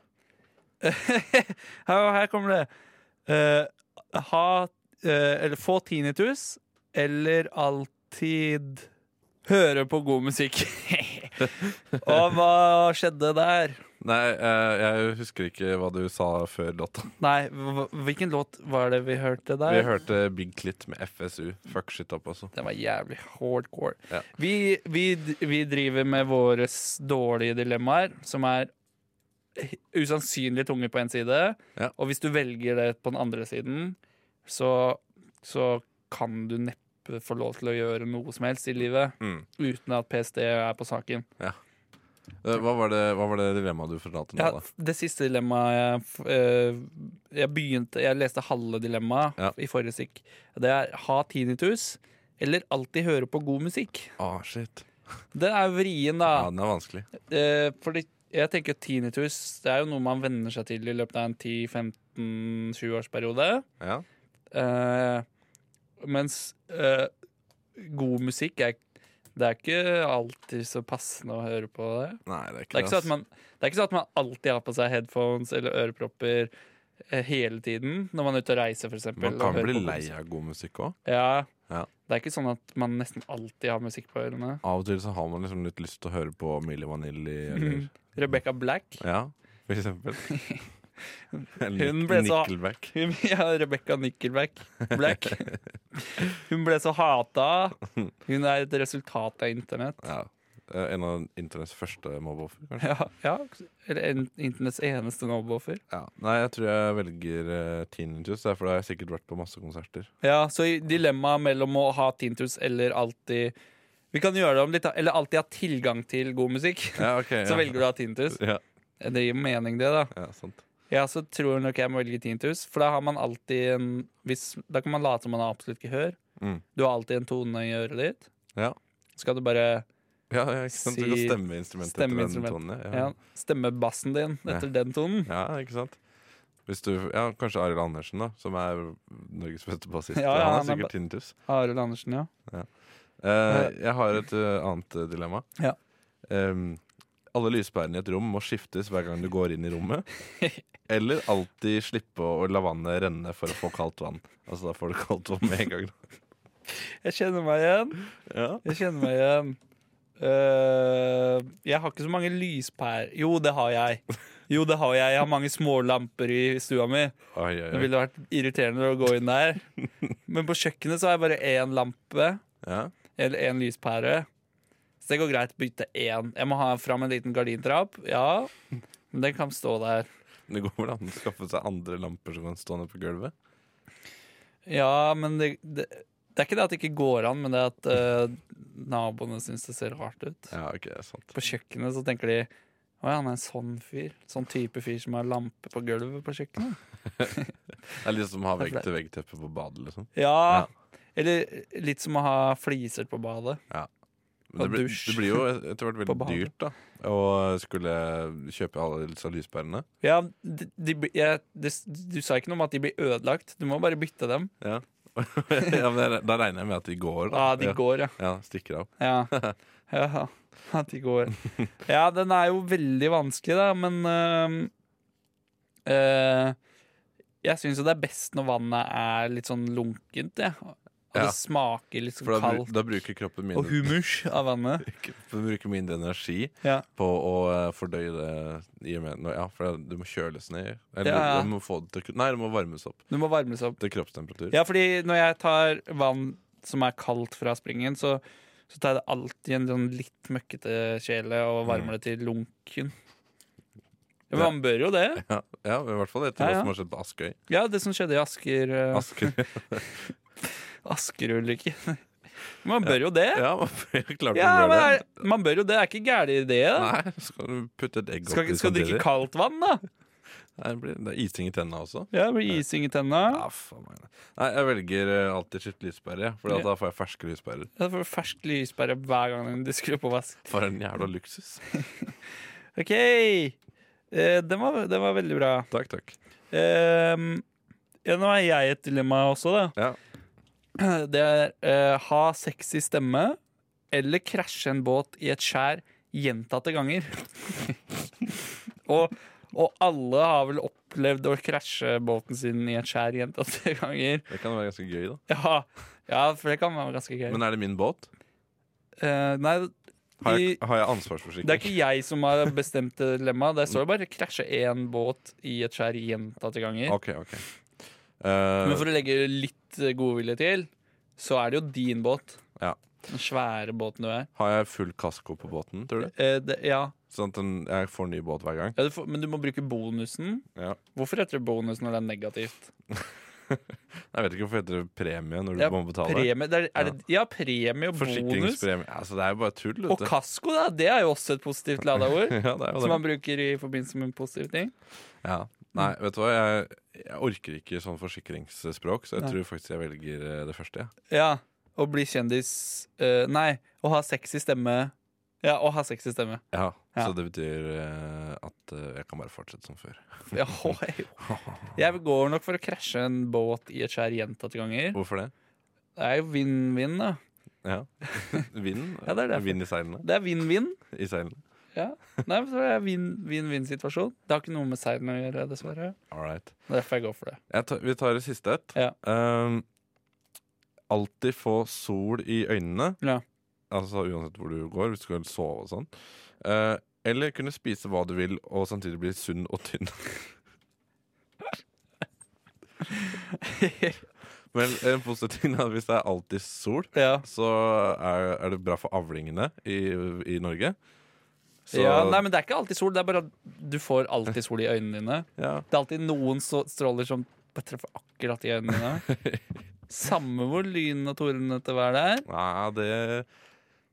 Speaker 2: her, her kommer det. Eh, ha eh, Eller få tinnitus, eller alltid høre på god musikk. og hva skjedde der?
Speaker 1: Nei, eh, jeg husker ikke hva du sa før låta.
Speaker 2: Nei, hva- hvilken låt var det vi hørte der?
Speaker 1: Vi hørte Big Clit med FSU. Fuck shit up, altså.
Speaker 2: Den var jævlig hardcore.
Speaker 1: Ja.
Speaker 2: Vi, vi, vi driver med våre dårlige dilemmaer, som er usannsynlig tunge på én side.
Speaker 1: Ja.
Speaker 2: Og hvis du velger det på den andre siden, så, så kan du neppe få lov til å gjøre noe som helst i livet
Speaker 1: Mm.
Speaker 2: uten at PST er på saken.
Speaker 1: Eh, Hva var det, hva var det dilemmaet du fortalte nå,
Speaker 2: Ja,
Speaker 1: da?
Speaker 2: det siste dilemmaet jeg, f- eh, jeg begynte Jeg leste halve dilemmaet
Speaker 1: Ja.
Speaker 2: i forrige stikk. Det er ha tinnitus eller alltid høre på god musikk.
Speaker 1: Ah, shit.
Speaker 2: Den er vrien,
Speaker 1: Ja,
Speaker 2: da.
Speaker 1: den er vanskelig.
Speaker 2: Eh, fordi jeg tenker tinnitus det er jo noe man venner seg til i løpet av en 10-15-20 årsperiode.
Speaker 1: Ja.
Speaker 2: Eh, mens eh, god musikk er, det er ikke alltid så passende å høre på det.
Speaker 1: Nei, det er ikke
Speaker 2: Det er ikke
Speaker 1: ass.
Speaker 2: sånn at man, det er ikke sånn at man alltid har på seg headphones eller ørepropper eh, hele tiden når man er ute og reiser, f.eks.
Speaker 1: Man kan bli lei av god musikk òg.
Speaker 2: Ja.
Speaker 1: Ja.
Speaker 2: Det er ikke sånn at man nesten alltid har musikk på ørene.
Speaker 1: Av og til så har man liksom litt lyst til å høre på Milli Vanilli eller
Speaker 2: Mhm. Rebecca Black
Speaker 1: Ja, for eksempel. Eller
Speaker 2: Hun
Speaker 1: Nick-
Speaker 2: ble så-
Speaker 1: Nickelback.
Speaker 2: Hun- Ja, Rebecca Nickelback Black. Hun ble så hata. Hun er et resultat av internett.
Speaker 1: Ja. Eh, En av internetts første mobbeoffer, kanskje.
Speaker 2: Ja, ja. Eller en, internetts eneste mobbeoffer.
Speaker 1: Ja. Nei, jeg tror jeg velger uh, Tinnitus. Det er fordi jeg har sikkert vært på masse konserter.
Speaker 2: Ja, så i dilemmaet mellom å ha tintus eller alltid Vi kan gjøre det om litt, da. Eller alltid ha tilgang til god musikk.
Speaker 1: Ja, ok
Speaker 2: Så velger du å ha tintus.
Speaker 1: Ja,
Speaker 2: Det gir mening, det, da.
Speaker 1: ja sant.
Speaker 2: Ja, så tror jeg nok jeg må velge tintus, for da har man alltid en hvis, Da kan man late som man har absolutt gehør.
Speaker 1: Mm.
Speaker 2: Du har alltid en tone i øret ditt.
Speaker 1: Ja.
Speaker 2: Skal du bare
Speaker 1: Ja, ja, ikke sant? Du kan
Speaker 2: Si-
Speaker 1: stemme instrumentet etter
Speaker 2: Stemmeinstrument.
Speaker 1: den tonen. Ja.
Speaker 2: Ja, stemmebassen din etter den tonen.
Speaker 1: Ja. ikke sant? Hvis du, ja, kanskje Arild Andersen, da, som er Norges beste bassist.
Speaker 2: Ja, ja,
Speaker 1: han har
Speaker 2: han er
Speaker 1: sikkert tinnitus.
Speaker 2: Arild Andersen, ja.
Speaker 1: Eh, jeg har et eh, annet eh, dilemma.
Speaker 2: Ja.
Speaker 1: Em, alle lyspærene i et rom må skiftes hver gang du går inn i rommet. Eller alltid slippe å, å la vannet renne for å få kaldt vann. Altså Da får du kaldt vann med en gang.
Speaker 2: Jeg kjenner meg igjen.
Speaker 1: Ja.
Speaker 2: Jeg kjenner meg igjen. Eh, jeg har ikke så mange lyspærer Jo, det har jeg. Jo, det har jeg. Jeg har mange små lamper i stua mi.
Speaker 1: Oi, oi,
Speaker 2: Det
Speaker 1: oi.
Speaker 2: ville vært irriterende å gå inn der. Men på kjøkkenet så har jeg bare én lampe,
Speaker 1: Ja.
Speaker 2: eller én lyspære. Så det går greit å bytte én. Jeg må ha fram en liten gardintrapp. Ja, men den kan stå der.
Speaker 1: Det går vel an å skaffe seg andre lamper som kan stå nede på gulvet.
Speaker 2: Ja, men det, det, det er ikke det at det ikke går an, men det er at eh, naboene syns det ser rart ut.
Speaker 1: Ja, ok, det er sant
Speaker 2: På kjøkkenet så tenker de å ja, han er en sånn fyr. Sånn type fyr som har lampe på gulvet på kjøkkenet.
Speaker 1: Det er litt som å ha
Speaker 2: Det er
Speaker 1: vegg-til-vegg-teppe på badet. liksom
Speaker 2: Ja, Eller litt som å ha fliser på badet.
Speaker 1: Men det,
Speaker 2: Og
Speaker 1: blir-
Speaker 2: dusj
Speaker 1: det blir jo etter
Speaker 2: på
Speaker 1: hvert veldig
Speaker 2: badet.
Speaker 1: dyrt da å skulle kjøpe alle disse lyspærene.
Speaker 2: Ja, de, de, blir- jeg, det, Du sa ikke noe om at de blir ødelagt. Du må bare bytte dem.
Speaker 1: ja, men da- Da regner jeg med at de går. da
Speaker 2: Ja, de
Speaker 1: ja.
Speaker 2: går, ja.
Speaker 1: Ja, stikker av.
Speaker 2: Ja. ja. At de går. Ja, den er jo veldig vanskelig, da, men eh, øhm, øh, Jeg syns jo det er best når vannet er litt sånn lunkent, jeg. Og
Speaker 1: Ja.
Speaker 2: det smaker litt
Speaker 1: For
Speaker 2: sånn
Speaker 1: da, bru-
Speaker 2: kaldt.
Speaker 1: da bruker kroppen min
Speaker 2: Og humus av vannet.
Speaker 1: bruker min energi
Speaker 2: Ja.
Speaker 1: på å eh, fordøye det i og med nå- Ja, for det må kjøles ned. Eller
Speaker 2: Ja, ja.
Speaker 1: du må få det til Nei, det må varmes opp
Speaker 2: Du må varmes opp.
Speaker 1: til kroppstemperatur.
Speaker 2: Ja, fordi når jeg tar vann som er kaldt fra springen, så, så tar jeg det alltid i en sånn litt møkkete kjele
Speaker 1: Mm.
Speaker 2: og varmer det til lunken. Ja, men
Speaker 1: Ja.
Speaker 2: man bør jo det.
Speaker 1: Ja, ja, i hvert fall etter
Speaker 2: Ja, ja.
Speaker 1: hva som har skjedd på Askøy.
Speaker 2: Ja, det som skjedde i Asker eh,
Speaker 1: Asker.
Speaker 2: Asker-ulykke. Man bør jo det.
Speaker 1: Ja, man klarte
Speaker 2: Ja,
Speaker 1: å
Speaker 2: men
Speaker 1: gjøre
Speaker 2: er, man bør jo det. Det er ikke gæren idé. da.
Speaker 1: Nei, skal du putte et egg
Speaker 2: Skal,
Speaker 1: oppi
Speaker 2: ikke- skal drikke kaldt vann, da.
Speaker 1: Nei, det, blir, det er ising i tennene også.
Speaker 2: Ja, Med ising i tenna.
Speaker 1: Ja, faen meg. Nei, jeg velger eh, alltid skitt lyspære, for da får jeg ferske lyspærer.
Speaker 2: Jeg får fersk lyspære hver gang du skrur på vask.
Speaker 1: For en jævla luksus.
Speaker 2: OK. Eh, den, var, den var veldig bra.
Speaker 1: Takk, takk.
Speaker 2: Eh, ja, nå har jeg et dilemma også, da.
Speaker 1: Ja.
Speaker 2: Det er eh, ha sexy stemme eller krasje en båt i et skjær gjentatte ganger. og, og alle har vel opplevd å krasje båten sin i et skjær gjentatte ganger.
Speaker 1: Det kan være ganske gøy, da.
Speaker 2: Ja, ja for det kan være ganske gøy.
Speaker 1: Men er det min båt?
Speaker 2: Eh, nei,
Speaker 1: Har
Speaker 2: de,
Speaker 1: jeg, har jeg
Speaker 2: det er
Speaker 1: ansvarsforsikring?
Speaker 2: ikke jeg som har bestemt det dilemmaet. Det står jo bare 'krasje én båt i et skjær gjentatte ganger'.
Speaker 1: Ok, ok. Eh,
Speaker 2: Men for å legge litt eh, godvilje til, så er det jo din båt.
Speaker 1: Ja.
Speaker 2: Den svære båten du er.
Speaker 1: har jeg full kasko på båten, tror du?
Speaker 2: Eh, det, ja.
Speaker 1: Sånn at den, jeg får ny båt hver gang?
Speaker 2: Ja, du får, men du må bruke bonusen.
Speaker 1: Ja.
Speaker 2: Hvorfor heter det bonus når det er negativt?
Speaker 1: Jeg vet ikke hvorfor heter det premie når du
Speaker 2: Ja,
Speaker 1: må betale.
Speaker 2: Premie, det er, er det, ja, premie og bonus.
Speaker 1: Forsikringspremie. Altså, det er jo bare tull,
Speaker 2: Og
Speaker 1: vet du.
Speaker 2: kasko, da. Det er jo også et positivt lada ord.
Speaker 1: Ja, det er
Speaker 2: Som
Speaker 1: jo
Speaker 2: man
Speaker 1: det.
Speaker 2: bruker i forbindelse med positive ting.
Speaker 1: Ja. Nei, vet du hva, jeg, jeg orker ikke sånn forsikringsspråk, så jeg
Speaker 2: Nei.
Speaker 1: tror faktisk jeg velger eh, det første. Ja.
Speaker 2: Ja, Å bli kjendis eh, Nei, å ha sexy stemme. Ja, å ha sexy stemme.
Speaker 1: Ja,
Speaker 2: Ja.
Speaker 1: Så det betyr eh, at eh, jeg kan bare fortsette som før.
Speaker 2: Ja, oi. jeg går nok for å krasje en båt i et skjær gjentatte ganger.
Speaker 1: Hvorfor det?
Speaker 2: Det er jo vinn-vinn, da.
Speaker 1: Ja. Vind?
Speaker 2: Ja, det er derfor.
Speaker 1: Vind i seilene?
Speaker 2: Det er vinn-vinn.
Speaker 1: I seilene.
Speaker 2: Ja. Nei, men så er det vinn-vinn-situasjon. Det har ikke noe med seilen å gjøre, dessverre.
Speaker 1: All right.
Speaker 2: Det er derfor jeg går for det.
Speaker 1: Jeg tar, vi tar det siste et.
Speaker 2: Ja.
Speaker 1: Ehm, alltid få sol i øynene.
Speaker 2: Ja.
Speaker 1: Altså uansett hvor du går, hvis du skal sove og sånn. Eh, eller kunne spise hva du vil og samtidig bli sunn og tynn. Men en positiv ting er at hvis det er alltid sol,
Speaker 2: ja.
Speaker 1: så er, er det bra for avlingene i, i Norge. Så
Speaker 2: ja. Nei, men det er ikke alltid sol. Det er bare at du får alltid sol i øynene dine.
Speaker 1: ja,
Speaker 2: Det er alltid noen så- stråler som bare treffer akkurat i øynene dine. Samme hvor lyn og tordenete vær det er.
Speaker 1: Nei, det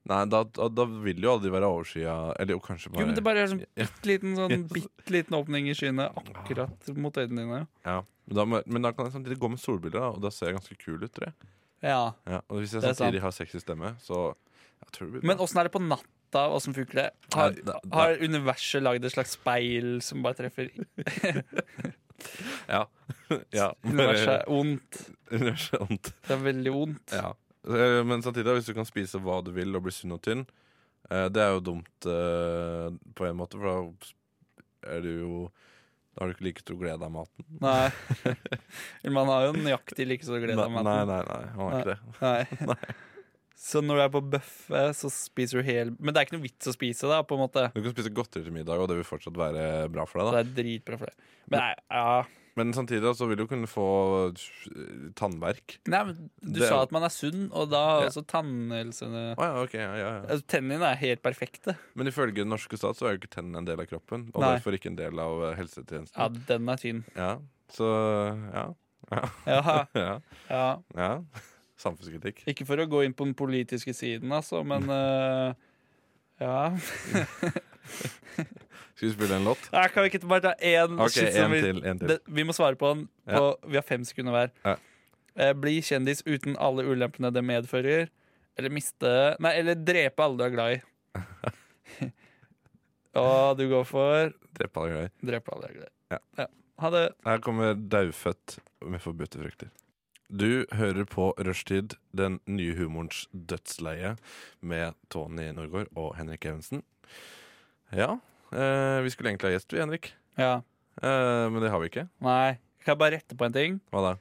Speaker 1: Nei, da, da, da vil jo aldri være overskya. Eller jo, kanskje bare
Speaker 2: Jo, men det bare er sånn
Speaker 1: Ja.
Speaker 2: bitte liten, sånn, bitte liten åpning i skyene akkurat mot øynene dine.
Speaker 1: Ja, men da, må- men da kan jeg samtidig gå med solbriller, da, og da ser jeg ganske kul ut. Tror jeg.
Speaker 2: Ja.
Speaker 1: Ja, og hvis jeg
Speaker 2: Det er
Speaker 1: samtidig har sexy stemme, så jeg tror det blir bra.
Speaker 2: Men åssen er det på natta? Åssen funker det? Har,
Speaker 1: Nei, da- da-
Speaker 2: har universet lagd et slags speil som bare treffer
Speaker 1: ja. ja.
Speaker 2: Universet er ondt.
Speaker 1: Universet er ondt.
Speaker 2: Det er veldig ondt.
Speaker 1: Ja. Eh, Men samtidig, da, hvis du kan spise hva du vil og bli sunn og tynn eh, Det er jo dumt eh, på en måte, for da er du jo Da har du ikke like stor glede av maten.
Speaker 2: Nei. Men Man har jo nøyaktig like stor glede av
Speaker 1: nei, nei,
Speaker 2: maten.
Speaker 1: nei, nei, man har ikke det.
Speaker 2: Nei. Så når du er på buffé, så spiser du hel Men det er ikke noe vits å spise, da, på en måte.
Speaker 1: Du kan spise godteri til middag, og det vil fortsatt være bra for deg. da
Speaker 2: Det er dritbra for deg. Men nei, ja.
Speaker 1: Men samtidig da, så vil du kunne få eh, tannverk.
Speaker 2: nei men du
Speaker 1: Det er
Speaker 2: sa
Speaker 1: jo-
Speaker 2: at man er sunn, og da
Speaker 1: Ja.
Speaker 2: er også tannhelsene
Speaker 1: Å ja, ok. Ja, ja, ja.
Speaker 2: altså, Tennene er helt perfekte.
Speaker 1: Men ifølge den norske stat så er jo ikke tennene en del av kroppen, og
Speaker 2: Nei.
Speaker 1: derfor ikke en del av eh, helsetjenesten.
Speaker 2: Ja, den er tynn.
Speaker 1: Ja. Så ja.
Speaker 2: Ja,
Speaker 1: ja.
Speaker 2: ja.
Speaker 1: ja. Samfunnskritikk.
Speaker 2: Ikke for å gå inn på den politiske siden, altså, men eh, ja.
Speaker 1: Skal vi spille en låt?
Speaker 2: Nei, Kan vi ikke bare ta én
Speaker 1: Ok,
Speaker 2: shit som
Speaker 1: en
Speaker 2: vi-
Speaker 1: til. En til.
Speaker 2: det, vi må svare på den. På, Vi har fem sekunder hver.
Speaker 1: Ja.
Speaker 2: Eh, bli kjendis uten alle ulempene det medfører. Eller miste Nei, eller drepe alle du er glad i. Og du går for
Speaker 1: Drepe alle greier.
Speaker 2: drepe alle du er glad i.
Speaker 1: Ja.
Speaker 2: Ha det.
Speaker 1: Her kommer Daufødt med forbudte frukter. Du hører på Rushtid, den nye humorens dødsleie, med Tony Norgård og Henrik Evensen. Ja, eh, vi skulle egentlig ha gjest, vi, Henrik.
Speaker 2: Ja.
Speaker 1: Eh, men det har vi ikke.
Speaker 2: Nei. Kan jeg bare rette på en ting?
Speaker 1: Hva da?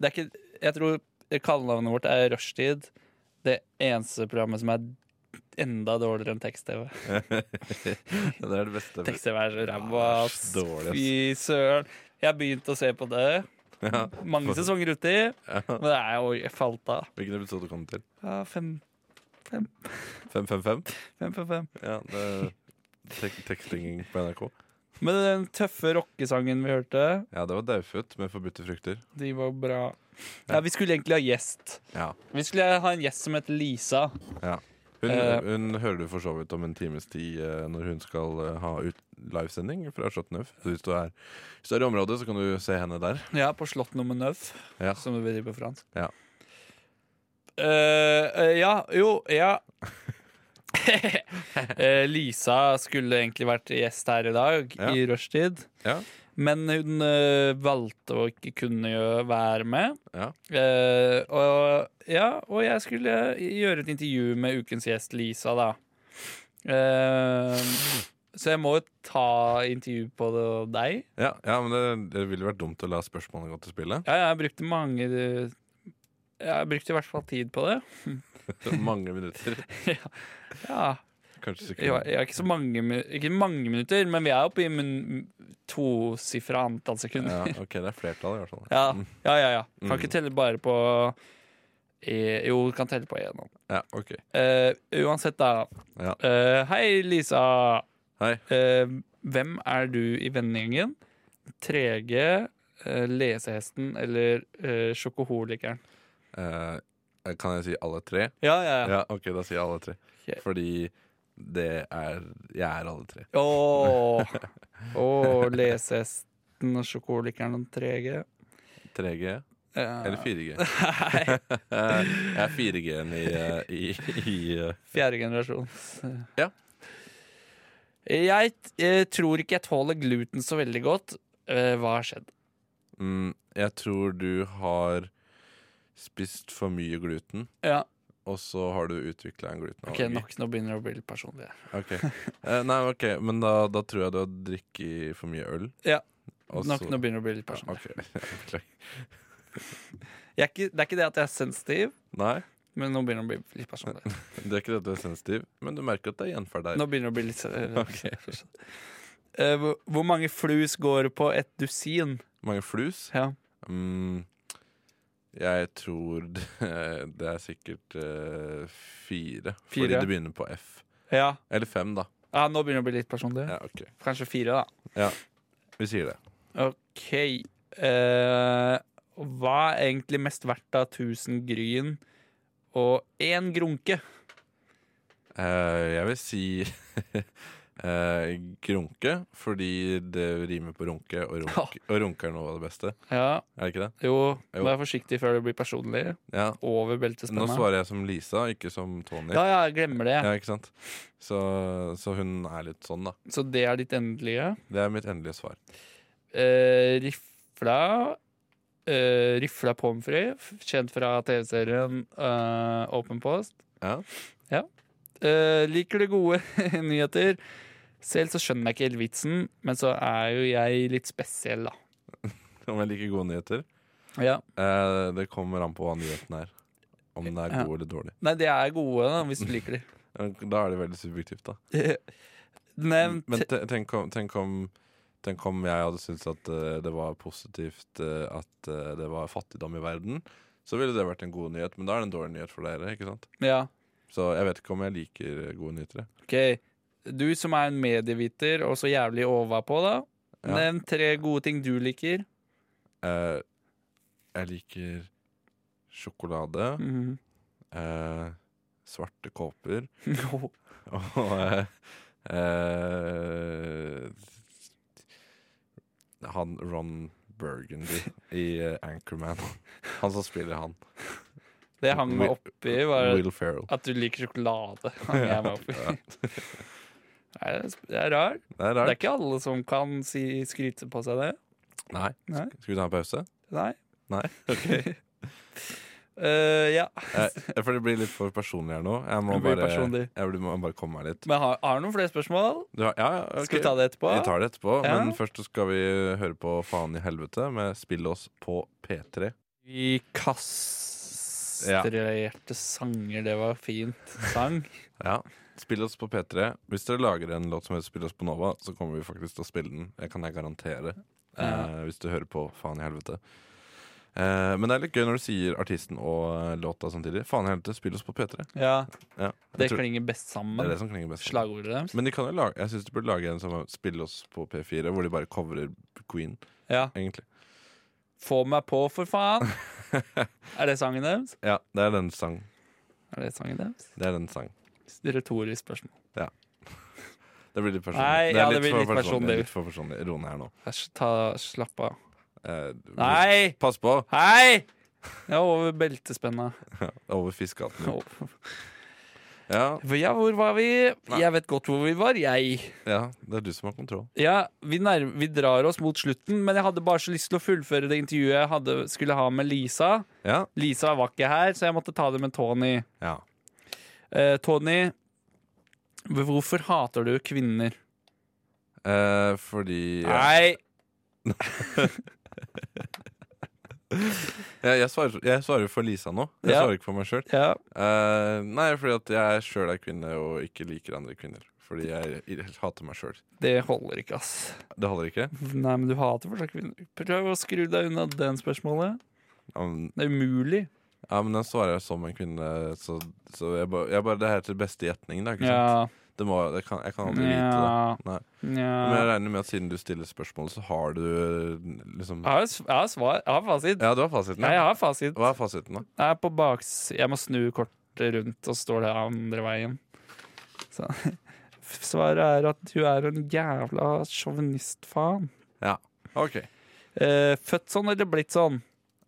Speaker 2: Det er ikke Jeg tror kallenavnet vårt er Rushtid. Det eneste programmet som er enda dårligere enn tekst-TV.
Speaker 1: Det er det beste.
Speaker 2: Tekst-TV er så ræva,
Speaker 1: Ja,
Speaker 2: ass.
Speaker 1: det er så dårlig, ass.
Speaker 2: Fy søren. Jeg begynte å se på det.
Speaker 1: Ja.
Speaker 2: Mange sesonger uti,
Speaker 1: Ja.
Speaker 2: men det er jo jeg falt av.
Speaker 1: Hvilken episode kom du til?
Speaker 2: Ja, fem,
Speaker 1: 555?
Speaker 2: fem, fem, fem.
Speaker 1: Ja, det er tek tekstinging på NRK.
Speaker 2: Men den tøffe rockesangen vi hørte,
Speaker 1: Ja, det var Daufødt med forbudte frukter.
Speaker 2: de var bra. Ja, vi skulle egentlig ha gjest.
Speaker 1: Ja.
Speaker 2: Vi skulle ha en gjest som heter Lisa.
Speaker 1: Hun,
Speaker 2: Eh.
Speaker 1: hun hører du for så vidt om en times tid eh, når hun skal eh, ha ut livesending fra Slottenøv. Så hvis du er, hvis du er i området, så kan du se henne der.
Speaker 2: Ja, på Slott nummer 9,
Speaker 1: Ja.
Speaker 2: som det betyr på fransk.
Speaker 1: Ja.
Speaker 2: Eh, eh, ja, jo, ja. Eh, Lisa skulle egentlig vært gjest her i dag,
Speaker 1: Ja.
Speaker 2: i rushtid.
Speaker 1: Ja.
Speaker 2: Men hun eh, valgte å ikke kunne gjø- være med.
Speaker 1: Ja.
Speaker 2: Eh, og, ja, og jeg skulle eh, gjøre et intervju med ukens gjest, Lisa, da. Eh, så jeg må jo ta intervju på deg.
Speaker 1: Ja, ja men det, det ville vært dumt å la spørsmålene gå til spille.
Speaker 2: Ja, jeg brukte mange eh, Jeg brukte i hvert fall tid på det.
Speaker 1: Mange minutter.
Speaker 2: Ja,
Speaker 1: Kanskje
Speaker 2: jeg,
Speaker 1: sekunder.
Speaker 2: jeg er ikke så mange, mi- ikke mange minutter, men vi er oppe i min- tosifra antall
Speaker 1: Ja,
Speaker 2: sekunder.
Speaker 1: ok, det er flertall i hvert fall.
Speaker 2: Ja, ja, ja. ja. Kan
Speaker 1: Mm.
Speaker 2: ikke telle bare på eh, Jo, kan telle på én.
Speaker 1: Ja, ok.
Speaker 2: Eh, uansett, da.
Speaker 1: Ja.
Speaker 2: Eh, hei, Lisa.
Speaker 1: Hei.
Speaker 2: Eh, hvem er du i vennegjengen? Trege, eh, lesehesten eller eh, sjokoholikeren?
Speaker 1: Eh, kan jeg si alle tre?
Speaker 2: Ja, ja, ja.
Speaker 1: Ja, ok, da sier jeg alle tre.
Speaker 2: Ok.
Speaker 1: Fordi det er Jeg er alle tre.
Speaker 2: Åh, Åh, lesehesten og sjokolikeren og den trege.
Speaker 1: 3G
Speaker 2: Ja.
Speaker 1: eller 4G?
Speaker 2: Ah. Nei,
Speaker 1: jeg er 4G-en i, eh, i, i eh,
Speaker 2: fjerde generasjon.
Speaker 1: Ja.
Speaker 2: Jeg eh, tror ikke jeg tåler gluten så veldig godt. Eh, hva har skjedd?
Speaker 1: mm, Jeg tror du har spist for mye gluten,
Speaker 2: Ja,
Speaker 1: og så har du utvikla en
Speaker 2: ok,
Speaker 1: glutenallergi.
Speaker 2: nok. Nå begynner det å bli litt personlig.
Speaker 1: Ok. Eh, nei, ok, men da, da tror jeg du har drukket for mye øl.
Speaker 2: Ja.
Speaker 1: Og
Speaker 2: Nok,
Speaker 1: så-
Speaker 2: nå begynner det å bli litt
Speaker 1: Ja,
Speaker 2: personlig.
Speaker 1: ok. Beklager.
Speaker 2: Jeg er ikke, det er ikke det at jeg er sensitiv,
Speaker 1: Nei,
Speaker 2: men nå begynner det å bli litt personlig.
Speaker 1: det er ikke det at du er sensitiv, men du merker at det er gjenferd der.
Speaker 2: Nå begynner det å bli litt eh,
Speaker 1: Ok.
Speaker 2: Eh, hvor- Hvor mange flus går på et dusin?
Speaker 1: Mange flus.
Speaker 2: Ja.
Speaker 1: Mm, jeg tror det, det er sikkert eh, fire, Fordi
Speaker 2: Fire?
Speaker 1: det begynner på F.
Speaker 2: ja.
Speaker 1: Eller fem, da.
Speaker 2: Ja, nå begynner det å bli litt personlig.
Speaker 1: Ja, ok
Speaker 2: Kanskje fire, da.
Speaker 1: Vi sier det.
Speaker 2: OK. eh, hva er egentlig mest verdt av 1000 gryn og én grunke?
Speaker 1: Eh, jeg vil si eh, grunke, fordi det rimer på runke, og, runk, og runke er noe av det beste.
Speaker 2: Ja,
Speaker 1: Er det ikke det?
Speaker 2: jo,
Speaker 1: Jo.
Speaker 2: vær forsiktig før det blir personlig.
Speaker 1: Ja.
Speaker 2: Over
Speaker 1: Nå
Speaker 2: beltespennet.
Speaker 1: svarer jeg som Lisa, ikke som Tony.
Speaker 2: Ja, ja, jeg glemmer det.
Speaker 1: Ja, ikke sant? Så, så hun er litt sånn, da.
Speaker 2: Så det er ditt endelige.
Speaker 1: Det er mitt endelige svar.
Speaker 2: Eh, rifla eh, Rifla pommes frites, kjent fra TV-serien eh, Open Post.
Speaker 1: Ja.
Speaker 2: Ja. Eh, liker du gode nyheter? Selv så skjønner jeg ikke helt vitsen, men så er jo jeg litt spesiell, da.
Speaker 1: Om jeg liker gode nyheter?
Speaker 2: Ja.
Speaker 1: Eh, det kommer an på hva nyheten er. Om den er
Speaker 2: Ja.
Speaker 1: god eller dårlig.
Speaker 2: Nei, de er gode, da, hvis du liker
Speaker 1: Da er det veldig subjektivt, da.
Speaker 2: de. Nevnt
Speaker 1: Men te- tenk om, tenk om, tenk om jeg hadde syntes at eh, det var positivt eh, at eh, det var fattigdom i verden. Så ville det vært en god nyhet, men da er det en dårlig nyhet for dere. ikke sant?
Speaker 2: Ja,
Speaker 1: Så jeg vet ikke om jeg liker eh, gode nyheter. jeg.
Speaker 2: OK. Du som er en medieviter og så jævlig overpå, da.
Speaker 1: Ja.
Speaker 2: Nevn tre gode ting du liker.
Speaker 1: Eh, jeg liker sjokolade,
Speaker 2: Mhm.
Speaker 1: eh, svarte kåper
Speaker 2: Jo.
Speaker 1: og eh, eh, Han Ron Burgundy i eh, Anchorman. Han som spiller han.
Speaker 2: det hang meg
Speaker 1: Will-
Speaker 2: oppi, var
Speaker 1: Will Ferrell.
Speaker 2: at du liker sjokolade. Hang jeg meg oppi.
Speaker 1: Ja.
Speaker 2: Nei, det er sp- det er rart.
Speaker 1: Det er
Speaker 2: Det er
Speaker 1: rart.
Speaker 2: ikke alle som kan si, skryte på seg det.
Speaker 1: Nei.
Speaker 2: Nei.
Speaker 1: Skal vi ta en pause?
Speaker 2: Nei.
Speaker 1: Nei?
Speaker 2: Eh, ja.
Speaker 1: Eh, for det blir litt for personlig her nå. Jeg må
Speaker 2: Det blir
Speaker 1: bare,
Speaker 2: personlig.
Speaker 1: jeg må bare komme meg litt.
Speaker 2: Men har, har du noen flere spørsmål?
Speaker 1: Du har, ja, ja, ok.
Speaker 2: Skal vi ta det etterpå?
Speaker 1: Vi tar det etterpå,
Speaker 2: Ja.
Speaker 1: men først så skal vi høre på Faen i helvete med Spill oss på P3.
Speaker 2: Vi kaster orkestrerte sanger. Det var fint. Sang.
Speaker 1: Ja. Spill oss på P3. Hvis dere lager en låt som heter Spill oss på Nova, så kommer vi faktisk til å spille den. Det kan jeg garantere. Eh, hvis du hører på Faen i helvete. Eh, men det er litt gøy når du sier artisten og eh, låta samtidig. Faen i helvete, spill oss på P3.
Speaker 2: Ja,
Speaker 1: Ja, jeg
Speaker 2: Det
Speaker 1: tror-
Speaker 2: klinger best
Speaker 1: det er
Speaker 2: sammen.
Speaker 1: det som klinger best.
Speaker 2: Slagordet deres.
Speaker 1: Men de kan jo lage, jeg syns de burde lage en som er Spill oss på P4, hvor de bare covrer Queen,
Speaker 2: Ja.
Speaker 1: egentlig.
Speaker 2: Få meg på, for faen! Er det sangen deres?
Speaker 1: Ja, det er den sang.
Speaker 2: Er det sangen deres?
Speaker 1: Det er den sang.
Speaker 2: Retorisk spørsmål.
Speaker 1: Det blir litt personlig.
Speaker 2: Nei,
Speaker 1: det er
Speaker 2: ja, det blir litt personlig.
Speaker 1: Litt for personlig. Ro ned her nå.
Speaker 2: Æsj, ta, slapp av.
Speaker 1: Eh,
Speaker 2: Nei!
Speaker 1: Pass på!
Speaker 2: Hei! Jeg er over beltespenna.
Speaker 1: Det er Over fiskehatten.
Speaker 2: Over.
Speaker 1: Ja,
Speaker 2: For Ja, hvor var vi? Jeg vet godt hvor vi var, jeg.
Speaker 1: ja, det er du som har kontroll.
Speaker 2: Ja, vi, nærm- vi drar oss mot slutten, men jeg hadde bare så lyst til å fullføre det intervjuet jeg hadde, skulle ha med Lisa.
Speaker 1: Ja,
Speaker 2: Lisa var ikke her, så jeg måtte ta det med Tony.
Speaker 1: ja.
Speaker 2: Eh, Tony, hvorfor hater du kvinner?
Speaker 1: Eh, fordi jeg,
Speaker 2: Nei!
Speaker 1: jeg, svarer, jeg svarer for Lisa nå. Jeg
Speaker 2: Ja.
Speaker 1: svarer ikke for meg sjøl.
Speaker 2: Ja,
Speaker 1: nei, fordi at jeg sjøl er kvinne og ikke liker andre kvinner. Fordi jeg i- hater meg sjøl.
Speaker 2: det holder ikke, ass.
Speaker 1: Det holder ikke?
Speaker 2: Nei, men du hater fortsatt kvinner. Prøv å skru deg unna den spørsmålet.
Speaker 1: Ja, men,
Speaker 2: Det er umulig.
Speaker 1: ja, men den svarer jeg som en kvinne, så, så jeg, ba, jeg bare Det her er til beste gjetning, da. Ikke sant?
Speaker 2: Ja.
Speaker 1: Det må, det kan, jeg kan aldri vite det.
Speaker 2: Ja.
Speaker 1: Nei. Men jeg
Speaker 2: Ja.
Speaker 1: regner med at siden du stiller spørsmål, så har du liksom
Speaker 2: Jeg har s- jeg har svar. Jeg har fasit.
Speaker 1: Ja, du har fasiten.
Speaker 2: Jeg
Speaker 1: Ja.
Speaker 2: har fasit.
Speaker 1: Hva er fasiten, da?
Speaker 2: Jeg er på baks Jeg må snu kortet rundt Og står det andre veien Så Svaret er at du er en jævla Chauvinist-faen
Speaker 1: OK.
Speaker 2: eh, Født sånn eller blitt sånn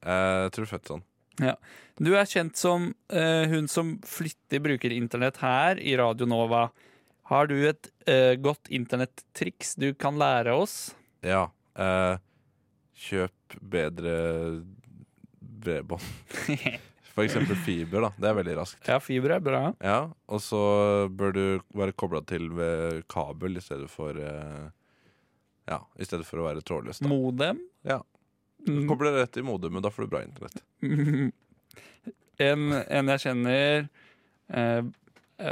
Speaker 1: Eh, jeg tror født sånn.
Speaker 2: Du er kjent som eh, hun som flyttig bruker internett her I Radio Nova Har du et eh, godt internett-triks Du kan lære oss
Speaker 1: Ja. Eh, kjøp bedre bredbånd. For eksempel fiber, da. Det er veldig raskt.
Speaker 2: Ja, fiber er bra
Speaker 1: Ja, Og så bør du være kobla til ved kabel i stedet for eh, Ja, i stedet for å være trådløs. da
Speaker 2: Modem
Speaker 1: Ja.
Speaker 2: Mm.
Speaker 1: Koble rett i modemet, da får du bra internett.
Speaker 2: en, en jeg kjenner eh,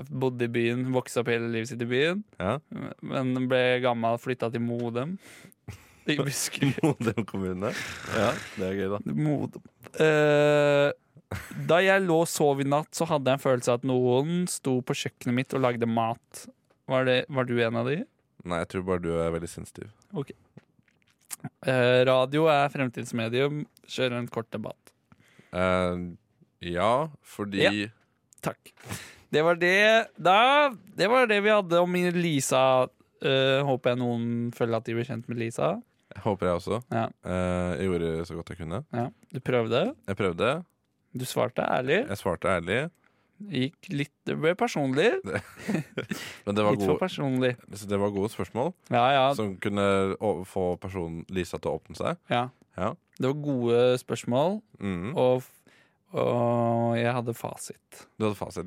Speaker 2: Bodde i byen, vokste opp hele livet sitt i byen
Speaker 1: Ja.
Speaker 2: Men ble gammel, flytta til Modem I Buskerud
Speaker 1: Modem kommune. Ja, det er gøy, da.
Speaker 2: Modem eh, Da jeg lå og sov i natt Så hadde jeg en følelse av at noen Sto på kjøkkenet mitt og lagde mat Var, det, var du en av de?
Speaker 1: Nei, jeg tror bare du er veldig sensitiv.
Speaker 2: Eh, radio er fremtidsmedium Kjør en kort debatt
Speaker 1: Eh, ja, fordi
Speaker 2: Ja. Takk Det var det da, Det var det vi hadde om min Lisa Eh, Håper jeg noen føler at de blir kjent med Lisa
Speaker 1: Jeg håper jeg også.
Speaker 2: Ja.
Speaker 1: Eh, jeg gjorde så godt jeg kunne.
Speaker 2: ja. Du prøvde,
Speaker 1: Jeg prøvde.
Speaker 2: du svarte ærlig
Speaker 1: Jeg svarte ærlig.
Speaker 2: Gikk litt, det ble personlig
Speaker 1: Men det var,
Speaker 2: Litt for
Speaker 1: gode,
Speaker 2: personlig
Speaker 1: så det var gode spørsmål
Speaker 2: Ja, ja,
Speaker 1: som kunne å- få personen Lisa til å åpne seg.
Speaker 2: ja.
Speaker 1: Ja.
Speaker 2: Det var gode spørsmål
Speaker 1: Mm.
Speaker 2: og, og jeg hadde fasit
Speaker 1: Du hadde fasit.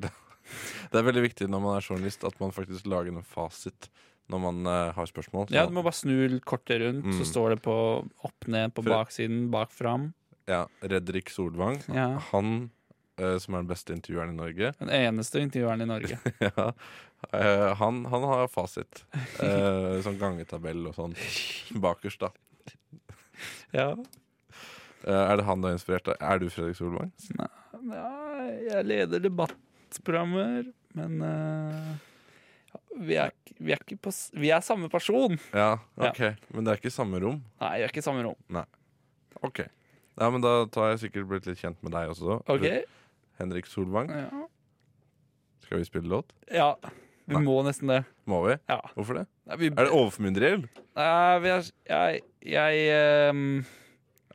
Speaker 1: Det er veldig viktig når man er journalist at man faktisk lager en fasit når man eh, har spørsmål.
Speaker 2: Ja, du må bare snu kortet rundt
Speaker 1: Mm.
Speaker 2: Så står det på opp ned på
Speaker 1: For-
Speaker 2: baksiden Bakfram
Speaker 1: ja, Redrik Solvang,
Speaker 2: Ja.
Speaker 1: han eh, som er den beste intervjueren i Norge,
Speaker 2: Den eneste intervjueren i Norge
Speaker 1: ja, eh, han, han har fasit. Eh, sånn gangetabell og sånn bakerst, da.
Speaker 2: Ja
Speaker 1: Eh, er det han du har inspirert av? Er du Fredrik Solvang?
Speaker 2: Ja, jeg leder debattprogrammer, men eh, ja, vi, er, ikke- vi, er ikke på, s- vi er samme person.
Speaker 1: Ja, ok. Men det er ikke samme rom.
Speaker 2: Nei, vi er ikke i samme rom.
Speaker 1: Ok. Ja, men da har jeg sikkert blitt litt kjent med deg også.
Speaker 2: Ok?
Speaker 1: Henrik Solvang.
Speaker 2: Ja.
Speaker 1: Skal vi spille låt?
Speaker 2: ja. Vi
Speaker 1: Nei.
Speaker 2: må nesten det.
Speaker 1: Må vi?
Speaker 2: Ja.
Speaker 1: Hvorfor det?
Speaker 2: Nei, vi,
Speaker 1: Er det overformynderi?
Speaker 2: Nei, vi er, jeg, jeg, ehm,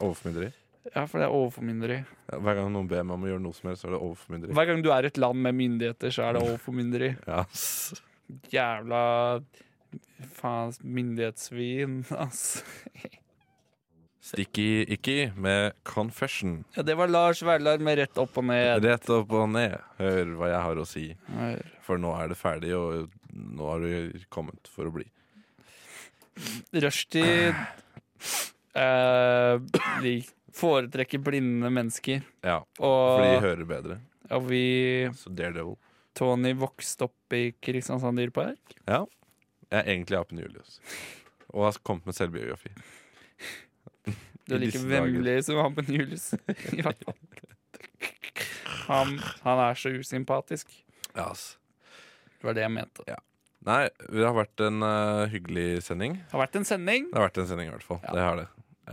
Speaker 1: Overformynderi.
Speaker 2: ja, for det er overformynderi.
Speaker 1: Ja, Hver gang noen ber meg om å gjøre noe som helst, så er det overformynderi.
Speaker 2: Hver gang du er i et land med myndigheter, så er det overformynderi.
Speaker 1: Ja, ass.
Speaker 2: Jævla faen myndighetssvin, ass.
Speaker 1: Sticky Icky med Confession.
Speaker 2: Ja, det var Lars Vaular med rett opp og ned.
Speaker 1: Rett opp og ned. Hør hva jeg har å si.
Speaker 2: Her.
Speaker 1: For nå er det ferdig, og nå har du kommet for å bli.
Speaker 2: Rushtid eh, lik, foretrekker blinde mennesker.
Speaker 1: Ja, for de
Speaker 2: Og,
Speaker 1: hører bedre.
Speaker 2: og vi
Speaker 1: Så Daredevil.
Speaker 2: Tony vokste opp i Kristiansand dyrepark.
Speaker 1: Ja. Jeg er egentlig apen Julius. Og har kommet med selvbiografi.
Speaker 2: Du er
Speaker 1: I
Speaker 2: like
Speaker 1: disse dager.
Speaker 2: vemmelig som han på Julius. I hvert fall. han, han er så usympatisk.
Speaker 1: Ja, ass.
Speaker 2: Det var det jeg mente.
Speaker 1: Nei, det har vært en eh, hyggelig sending.
Speaker 2: Det har vært en sending.
Speaker 1: Det har vært en sending, i hvert fall.
Speaker 2: Ja.
Speaker 1: Det har det.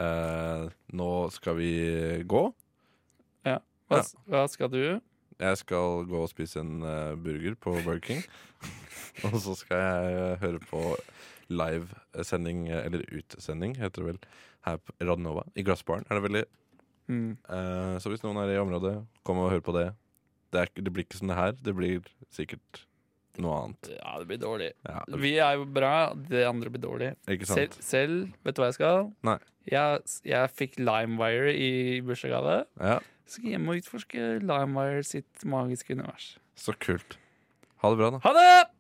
Speaker 1: Eh, nå skal vi gå.
Speaker 2: Hva,
Speaker 1: Ja.
Speaker 2: hva skal du?
Speaker 1: Jeg skal gå og spise en eh, burger på Burger King. og så skal jeg eh, høre på livesending, eh, eller utesending, heter det vel, her på Radnova. I Glassbaren er det veldig.
Speaker 2: Mm.
Speaker 1: Eh, så hvis noen er i området, kom og hør på det. Det, er, ikke- det blir ikke som det her. Det blir sikkert noe annet.
Speaker 2: Ja, det blir dårlig.
Speaker 1: Ja, det
Speaker 2: Vi er jo bra, det andre blir dårlig.
Speaker 1: blir- ikke sant?
Speaker 2: Selv, selv, vet du hva jeg skal?
Speaker 1: Nei.
Speaker 2: Jeg, jeg fikk LimeWire i bursdagsgave.
Speaker 1: Ja,
Speaker 2: Så skal jeg hjem og utforske LimeWire sitt magiske univers.
Speaker 1: så kult. Ha det bra, da.
Speaker 2: Ha det!